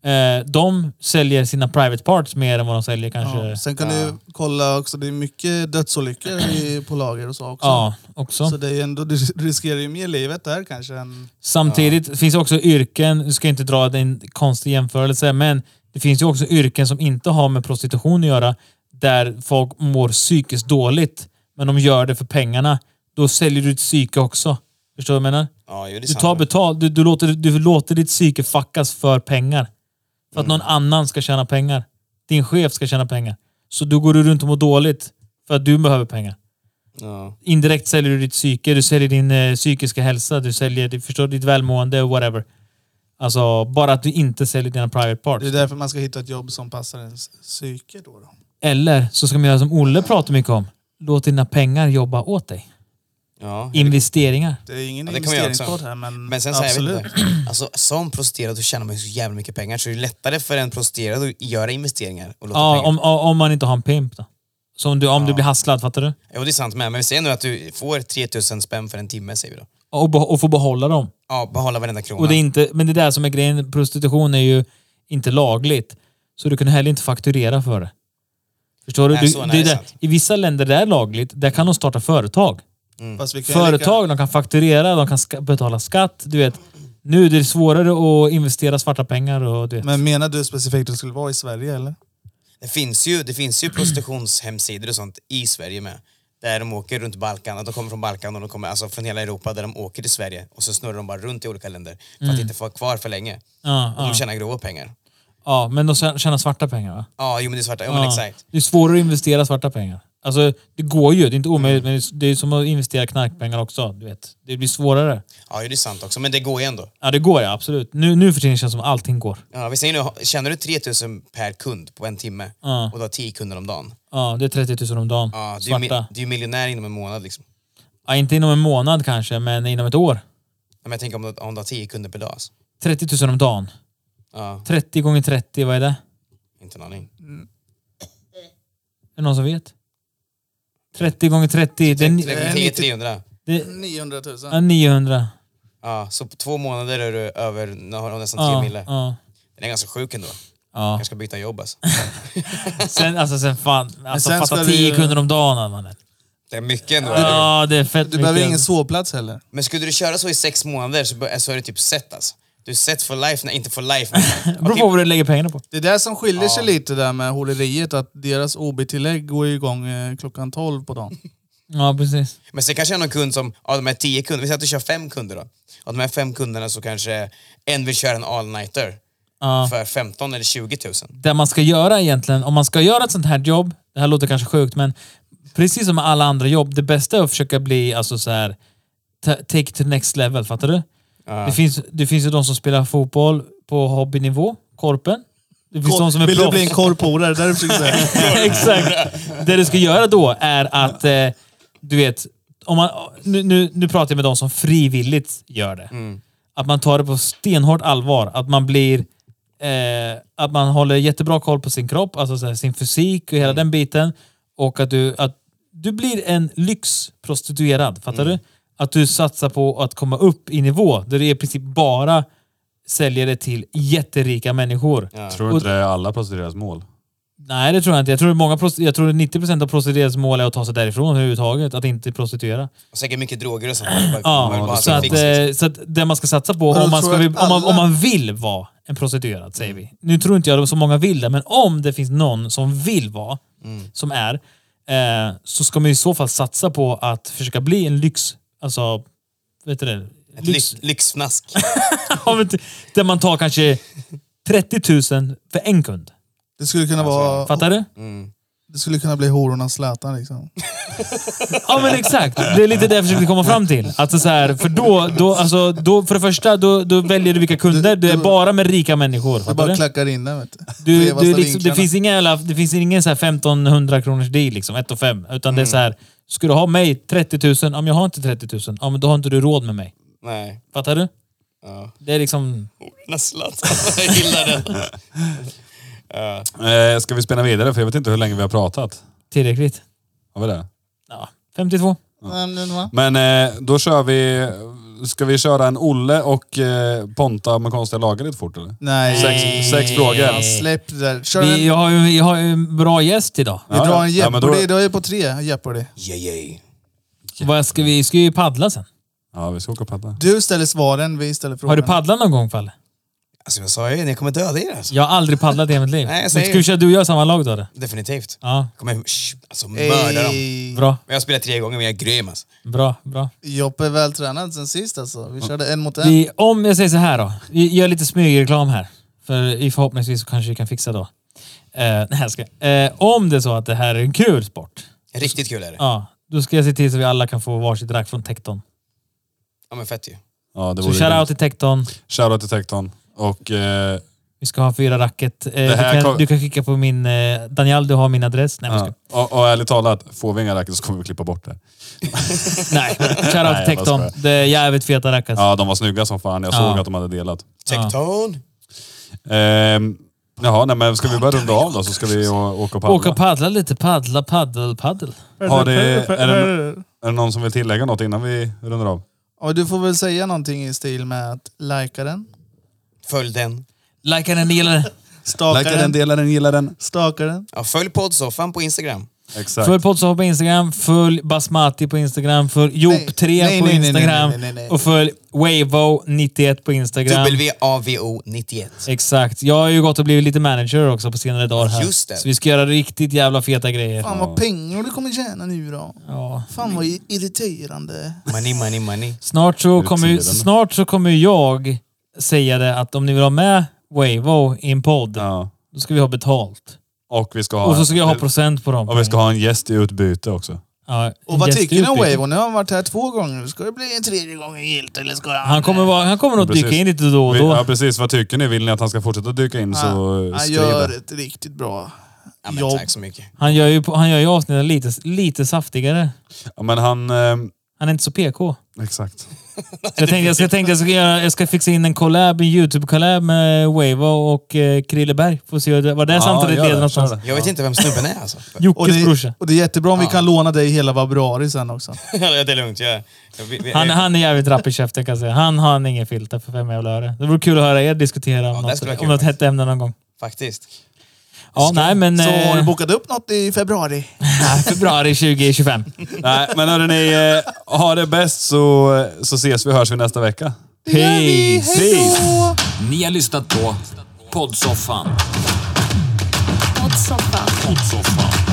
Eh, De säljer sina private parts mer än vad de säljer kanske.
Ja. Sen kan du kolla också, det är mycket dödsolyckor i, på lager och så också.
Ja, också.
Så det är ändå, du riskerar ju mer livet där kanske än...
Samtidigt finns det också yrken, nu ska jag inte dra en konstig jämförelse, men det finns ju också yrken som inte har med prostitution att göra, där folk mår psykiskt dåligt, men de gör det för pengarna. Då säljer du ditt psyke också. Förstår du vad jag menar?
Ja, ju, det är
Du
sant.
tar betal, du, du, låter, du låter ditt psyke fuckas för pengar. För att någon annan ska tjäna pengar. Din chef ska tjäna pengar. Så då går du runt och mår dåligt för att du behöver pengar
ja.
indirekt säljer du ditt psyke, du säljer din eh, psykiska hälsa, du säljer du förstår, ditt välmående och whatever. Alltså, bara att du inte säljer dina private parts.
Det är därför man ska hitta ett jobb som passar ens psyke då. då.
Eller så ska man göra som Olle pratar mycket om. Låt dina pengar jobba åt dig.
Ja.
Investeringar.
Det är ingen
Ja, det kan man göra också.
investeringskod här men,
Men sen så här, jag vet inte. Alltså, som prostituerad så tjänar man ju så jävla mycket pengar så det är lättare för en prostituerad att göra investeringar och låta
Ja,
pengar.
om, om man inte har en pimp då. Så om du, om du blir hasslad, fattar du?
Jo det är sant med, men vi säger nu att du får 3000 spänn för en timme säger vi då.
Och, beh- och få behålla dem.
Ja, behålla varenda krona.
Och det är inte, men det är där som är grejen. Prostitution är ju inte lagligt. Så du kan heller inte fakturera för det. Förstår du?
Nej,
du
så- nej,
det är
det
där,
är sant.
I vissa länder där det är lagligt, där kan de starta företag.
Mm.
Fast vi kan ju
Företag, de kan fakturera, de kan ska betala skatt. Du vet, nu är det svårare att investera svarta pengar. Och, du vet.
Lika, men menar du specifikt att det skulle vara i Sverige eller?
Det finns ju, det finns ju prostitutionshemsidor och sånt i Sverige med. Där de åker runt Balkan, att de kommer från Balkan och de kommer alltså från hela Europa där de åker till Sverige och så snurrar de bara runt i olika länder för att inte få vara kvar för länge.
Mm. ja,
Och
ja,
de tjänar grova pengar.
ja, men de tjänar svarta pengar va?
Ja, jo men det är svarta, jo men
Ja.
exakt.
Det är svårare att investera svarta pengar. Alltså, det går ju. Det är inte omöjligt, men det är- det är som att investera knarkpengar också. Du vet. Det blir svårare.
Ja, det är sant också, men det går ju ändå.
Ja, det går ja, absolut. Nu, nu för tiden känns det som allting går.
Ja, vi säger nu, tjänar du 3000 per kund på en timme
Ja.
och du har 10 kunder om dagen.
Ja, det är 30 000 om dagen.
Ja, du, är ju,
Svarta.
mi- du är miljonär inom en månad liksom.
Ja, inte inom en månad kanske, men inom ett år.
Ja, Men jag tänker om du, om du har 10 kunder per dag. Alltså.
30 000 om dagen.
Ja,
30 gånger 30, vad är det?
inte en aning.
Är det någon som vet? 30 gånger 30, det är, ni- eh,
Tre- tre- 300.
det
900 000.
är 900.
Ja, så på två månader är du över nu har du nästan 10
Ja,
mille.
ja,
Den är ganska sjuk ändå.
ja.
Jag ska byta jobb alltså.
Sen, alltså, sen fan, alltså,
sen
fatta
ska du
10
ju-
kunder om dagen. Man.
Det är mycket ändå.
Ja, det är fett
Du behöver
mycket.
ingen sovplats heller.
Men skulle du köra så i sex månader så, bör- så är det typ set alltså. Du är set for life, nej inte for life men...
Det beror på vad du lägger pengarna på.
Det är det som skiljer sig lite där med håleriet, att deras OB-tillägg går ju igång eh, klockan 12 på dagen.
Ja, precis.
Men sen kanske jag har någon kund som, av de här tio kunderna, vi säger att du kör fem kunder då. Av de här fem kunderna så kanske en vill köra en all-nighter
Ja.
för 15 eller 20 tusen.
det man ska göra egentligen, om man ska göra ett sånt här jobb, det här låter kanske sjukt, men precis som med alla andra jobb, det bästa är att försöka bli alltså så här ta- take it to the next level, fattar du? Det, finns, det finns ju de som spelar fotboll på hobbynivå, korpen. Det finns de som är
Vill du
proffs.
bli en korporare? Det är det du försöker säga.
Exakt. Det du ska göra då är att, eh, du vet, om man, nu, nu, nu pratar jag med de som frivilligt gör det. Att man tar det på stenhårt allvar. Att man blir... Eh, att man håller jättebra koll på sin kropp, alltså så här, sin fysik och hela den biten. Och att du, att du blir en lyxprostituerad, fattar du? Att du satsar på att komma upp i nivå där du i princip bara säljer det till jätterika människor.
Tror inte det är alla prostituerades mål?
Nej, det tror jag inte. Jag tror, många prost- jag tror 90% av prostituerades mål är att ta sig därifrån överhuvudtaget. Att inte prostituera.
Och säkert mycket droger och sånt. Man vill bara- man vill
Ja,
bara
så,
ha
att,
sin fix, liksom.
eh, så att det man ska satsa på,
då
om man,
tror
ska,
jag
bli-
att
om, man,
alla-
om man vill vara en prostituerad, säger vi. Nu tror inte jag att så många vill det, men om det finns någon som vill vara,
Mm.
som är, eh, så ska man i så fall satsa på att försöka bli en lyx... Alltså, vet du det? Lyx,
Ett lyx, lyxfnask.
Ja, men t- där man tar kanske 30 000 för en kund.
Det skulle kunna vara...
Fattar du?
Det skulle kunna bli horornas Zlatan liksom.
Ja men exakt. Det är lite det jag försökte komma fram till. Alltså så här, för då, då, alltså, då, för det första, då, då väljer du vilka kunder. Du är bara med rika människor.
Det
Fattar
bara
du?
klackar in där vet du.
Du,
Brevaste
du är liksom, det
vinklarna.
finns inga jävla, det finns ingen så här 1500 kronors deal liksom, 1 5 Utan det är så här, ska du ha mig 30 000? Om jag har inte 30 000, ja men då har inte du råd med mig.
Nej.
Fattar du?
Ja.
Det är liksom...
Näslan. Jag gillar den.
Eh, ska vi spinna vidare? För jag vet inte hur länge vi har pratat.
Tillräckligt.
Har vi det?
Ja, 52.
Mm, men va?
Men eh, då kör vi... Ska vi köra en Olle och eh, Ponta med konstiga lagar lite fort eller?
Nej.
Sex, sex frågor.
Släpp det där. Kör en,
Vi,
vi
jag, har ju, jag har ju en bra gäst idag.
Ja,
drar
ja.
en
Ja, men
Jeopardy.
då-
då är jag på tre Jeopardy.
Yeah, yeah.
Vad ska vi ska ju paddla sen.
Ja, vi ska åka och paddla.
Du ställer svaren, vi ställer frågan.
Har du paddlat någon gång Falle?
Alltså jag sa ju det, ni kommer döda er alltså.
Jag har aldrig paddlat i hela mitt liv.
Nej, jag
Men
säger
ska vi
ju.
köra du och jag i samma lag då? eller?
Definitivt.
Ja,
Kommer shh, alltså mörda dem.
Ey,
bra.
Men Jag har spelat tre gånger men jag är grym alltså.
Bra, bra.
Joppe är vältränad sen sist alltså. Vi körde en mot en.
Vi, om jag säger så här då. Vi gör lite smygreklam här. För i- förhoppningsvis så kanske vi kan fixa då. Eh, nej, jag ska, eh, om det är så att det här är en kul sport,
Riktigt kul är det.
ja, då ska jag se till så vi alla kan få varsitt rack från Tekton.
Ja men fett ju.
Ja, det
Så
vore
shoutout till Tekton.
Shoutout till Tekton. Och eh,
Vi ska ha fyra racket. Eh, du,
här
kan,
kom-
du kan skicka på min... Eh, Daniel, du har min adress. Nej, ja.
ja. och, och ärligt talat, får vi inga racket så kommer vi klippa bort det.
nej. shoutout
Nej,
till
jag bara
Tekton.
skojar.
Det är jävligt feta alltså. racket.
Ja, de var snygga som fan. Jag såg
Ja.
att de hade delat.
Tekton!
Ehm, jaha, nej, men ska vi börja runda av då så ska vi å- åka och paddla.
Åka och paddla lite. Paddla, paddel, paddel.
Har det, är, det, är det någon som vill tillägga något innan vi rundar av?
Och du får väl säga någonting i stil med att likea den,
Följ den.
Likea den, gilla den.
staka den,
dela den, gilla den.
staka den.
Ja, följ poddsoffan på Instagram.
Exakt.
Följ Poddsoffan på Instagram, följ Basmati på Instagram, följ
nej,
Joop3 på
nej, nej,
Instagram
nej, nej, nej, nej.
och följ Wavo91 på Instagram.
WAVO91.
Exakt. Jag har ju gått och blivit lite manager också på senare dagar här.
Just det.
Så vi ska göra riktigt jävla feta grejer.
Fan vad pengar du kommer tjäna nu då.
Ja.
Fan vad i- irriterande.
Money, money, money.
Snart, så kommer, ju-
tiden.
snart så kommer jag säga det att om ni vill ha med Wavo i en podd,
Ja.
då ska vi ha betalt.
Och vi ska ha,
Och så ska jag ha procent på dem.
och vi ska ha en gäst i utbyte också.
Ja,
Och vad
gäst
tycker ni om
utbyte.
Wavo? Nu har han varit här två gånger. Ska det bli en tredje gången gillt eller ska han...
Han kommer, vara, han kommer nog dyka in lite då och
Vi- Ja
då.
precis, vad tycker ni? Vill ni att han ska fortsätta dyka in så eh,
Han
skriv
ah, gör
det.
ett riktigt bra
Ja, men,
jobb.
tack så mycket.
Han gör ju, han gör ju avsnitten lite, lite saftigare.
Ja, men han... Eh,
Han är inte så PK.
exakt.
Så jag tänkte jag ska, tänkte jag ska, göra, jag ska fixa in en collab, en YouTube-collab med Wavo och eh, Krilleberg. Får se vad det är
Ja,
samtidigt
gör det,
leder någonstans.
kör det.
Jag vet inte vem snubben är alltså.
Och
Jockes
det, Eh.
brorsa.
och det är jättebra om vi kan låna dig hela februari sen också.
Ja, det är lugnt. Jag, jag, vi- vi-
Han, han är jävligt rapp i käften kan jag säga. Han har ingen filter för fem jävla öre. Det vore kul att höra er diskutera om
det
något,
skulle
om
vara kul
något
faktiskt.
hett ämne någon gång.
Faktiskt.
Ja, nej men...
Så
eh,
har du bokat upp något i februari?
nej, februari 2025.
Nej, men hörrni, eh, ha det bäst så, så ses vi och hörs vi nästa vecka.
Peace!
Peace!
Ni har lyssnat på Poddsoffan. Poddsoffan. Poddsoffan.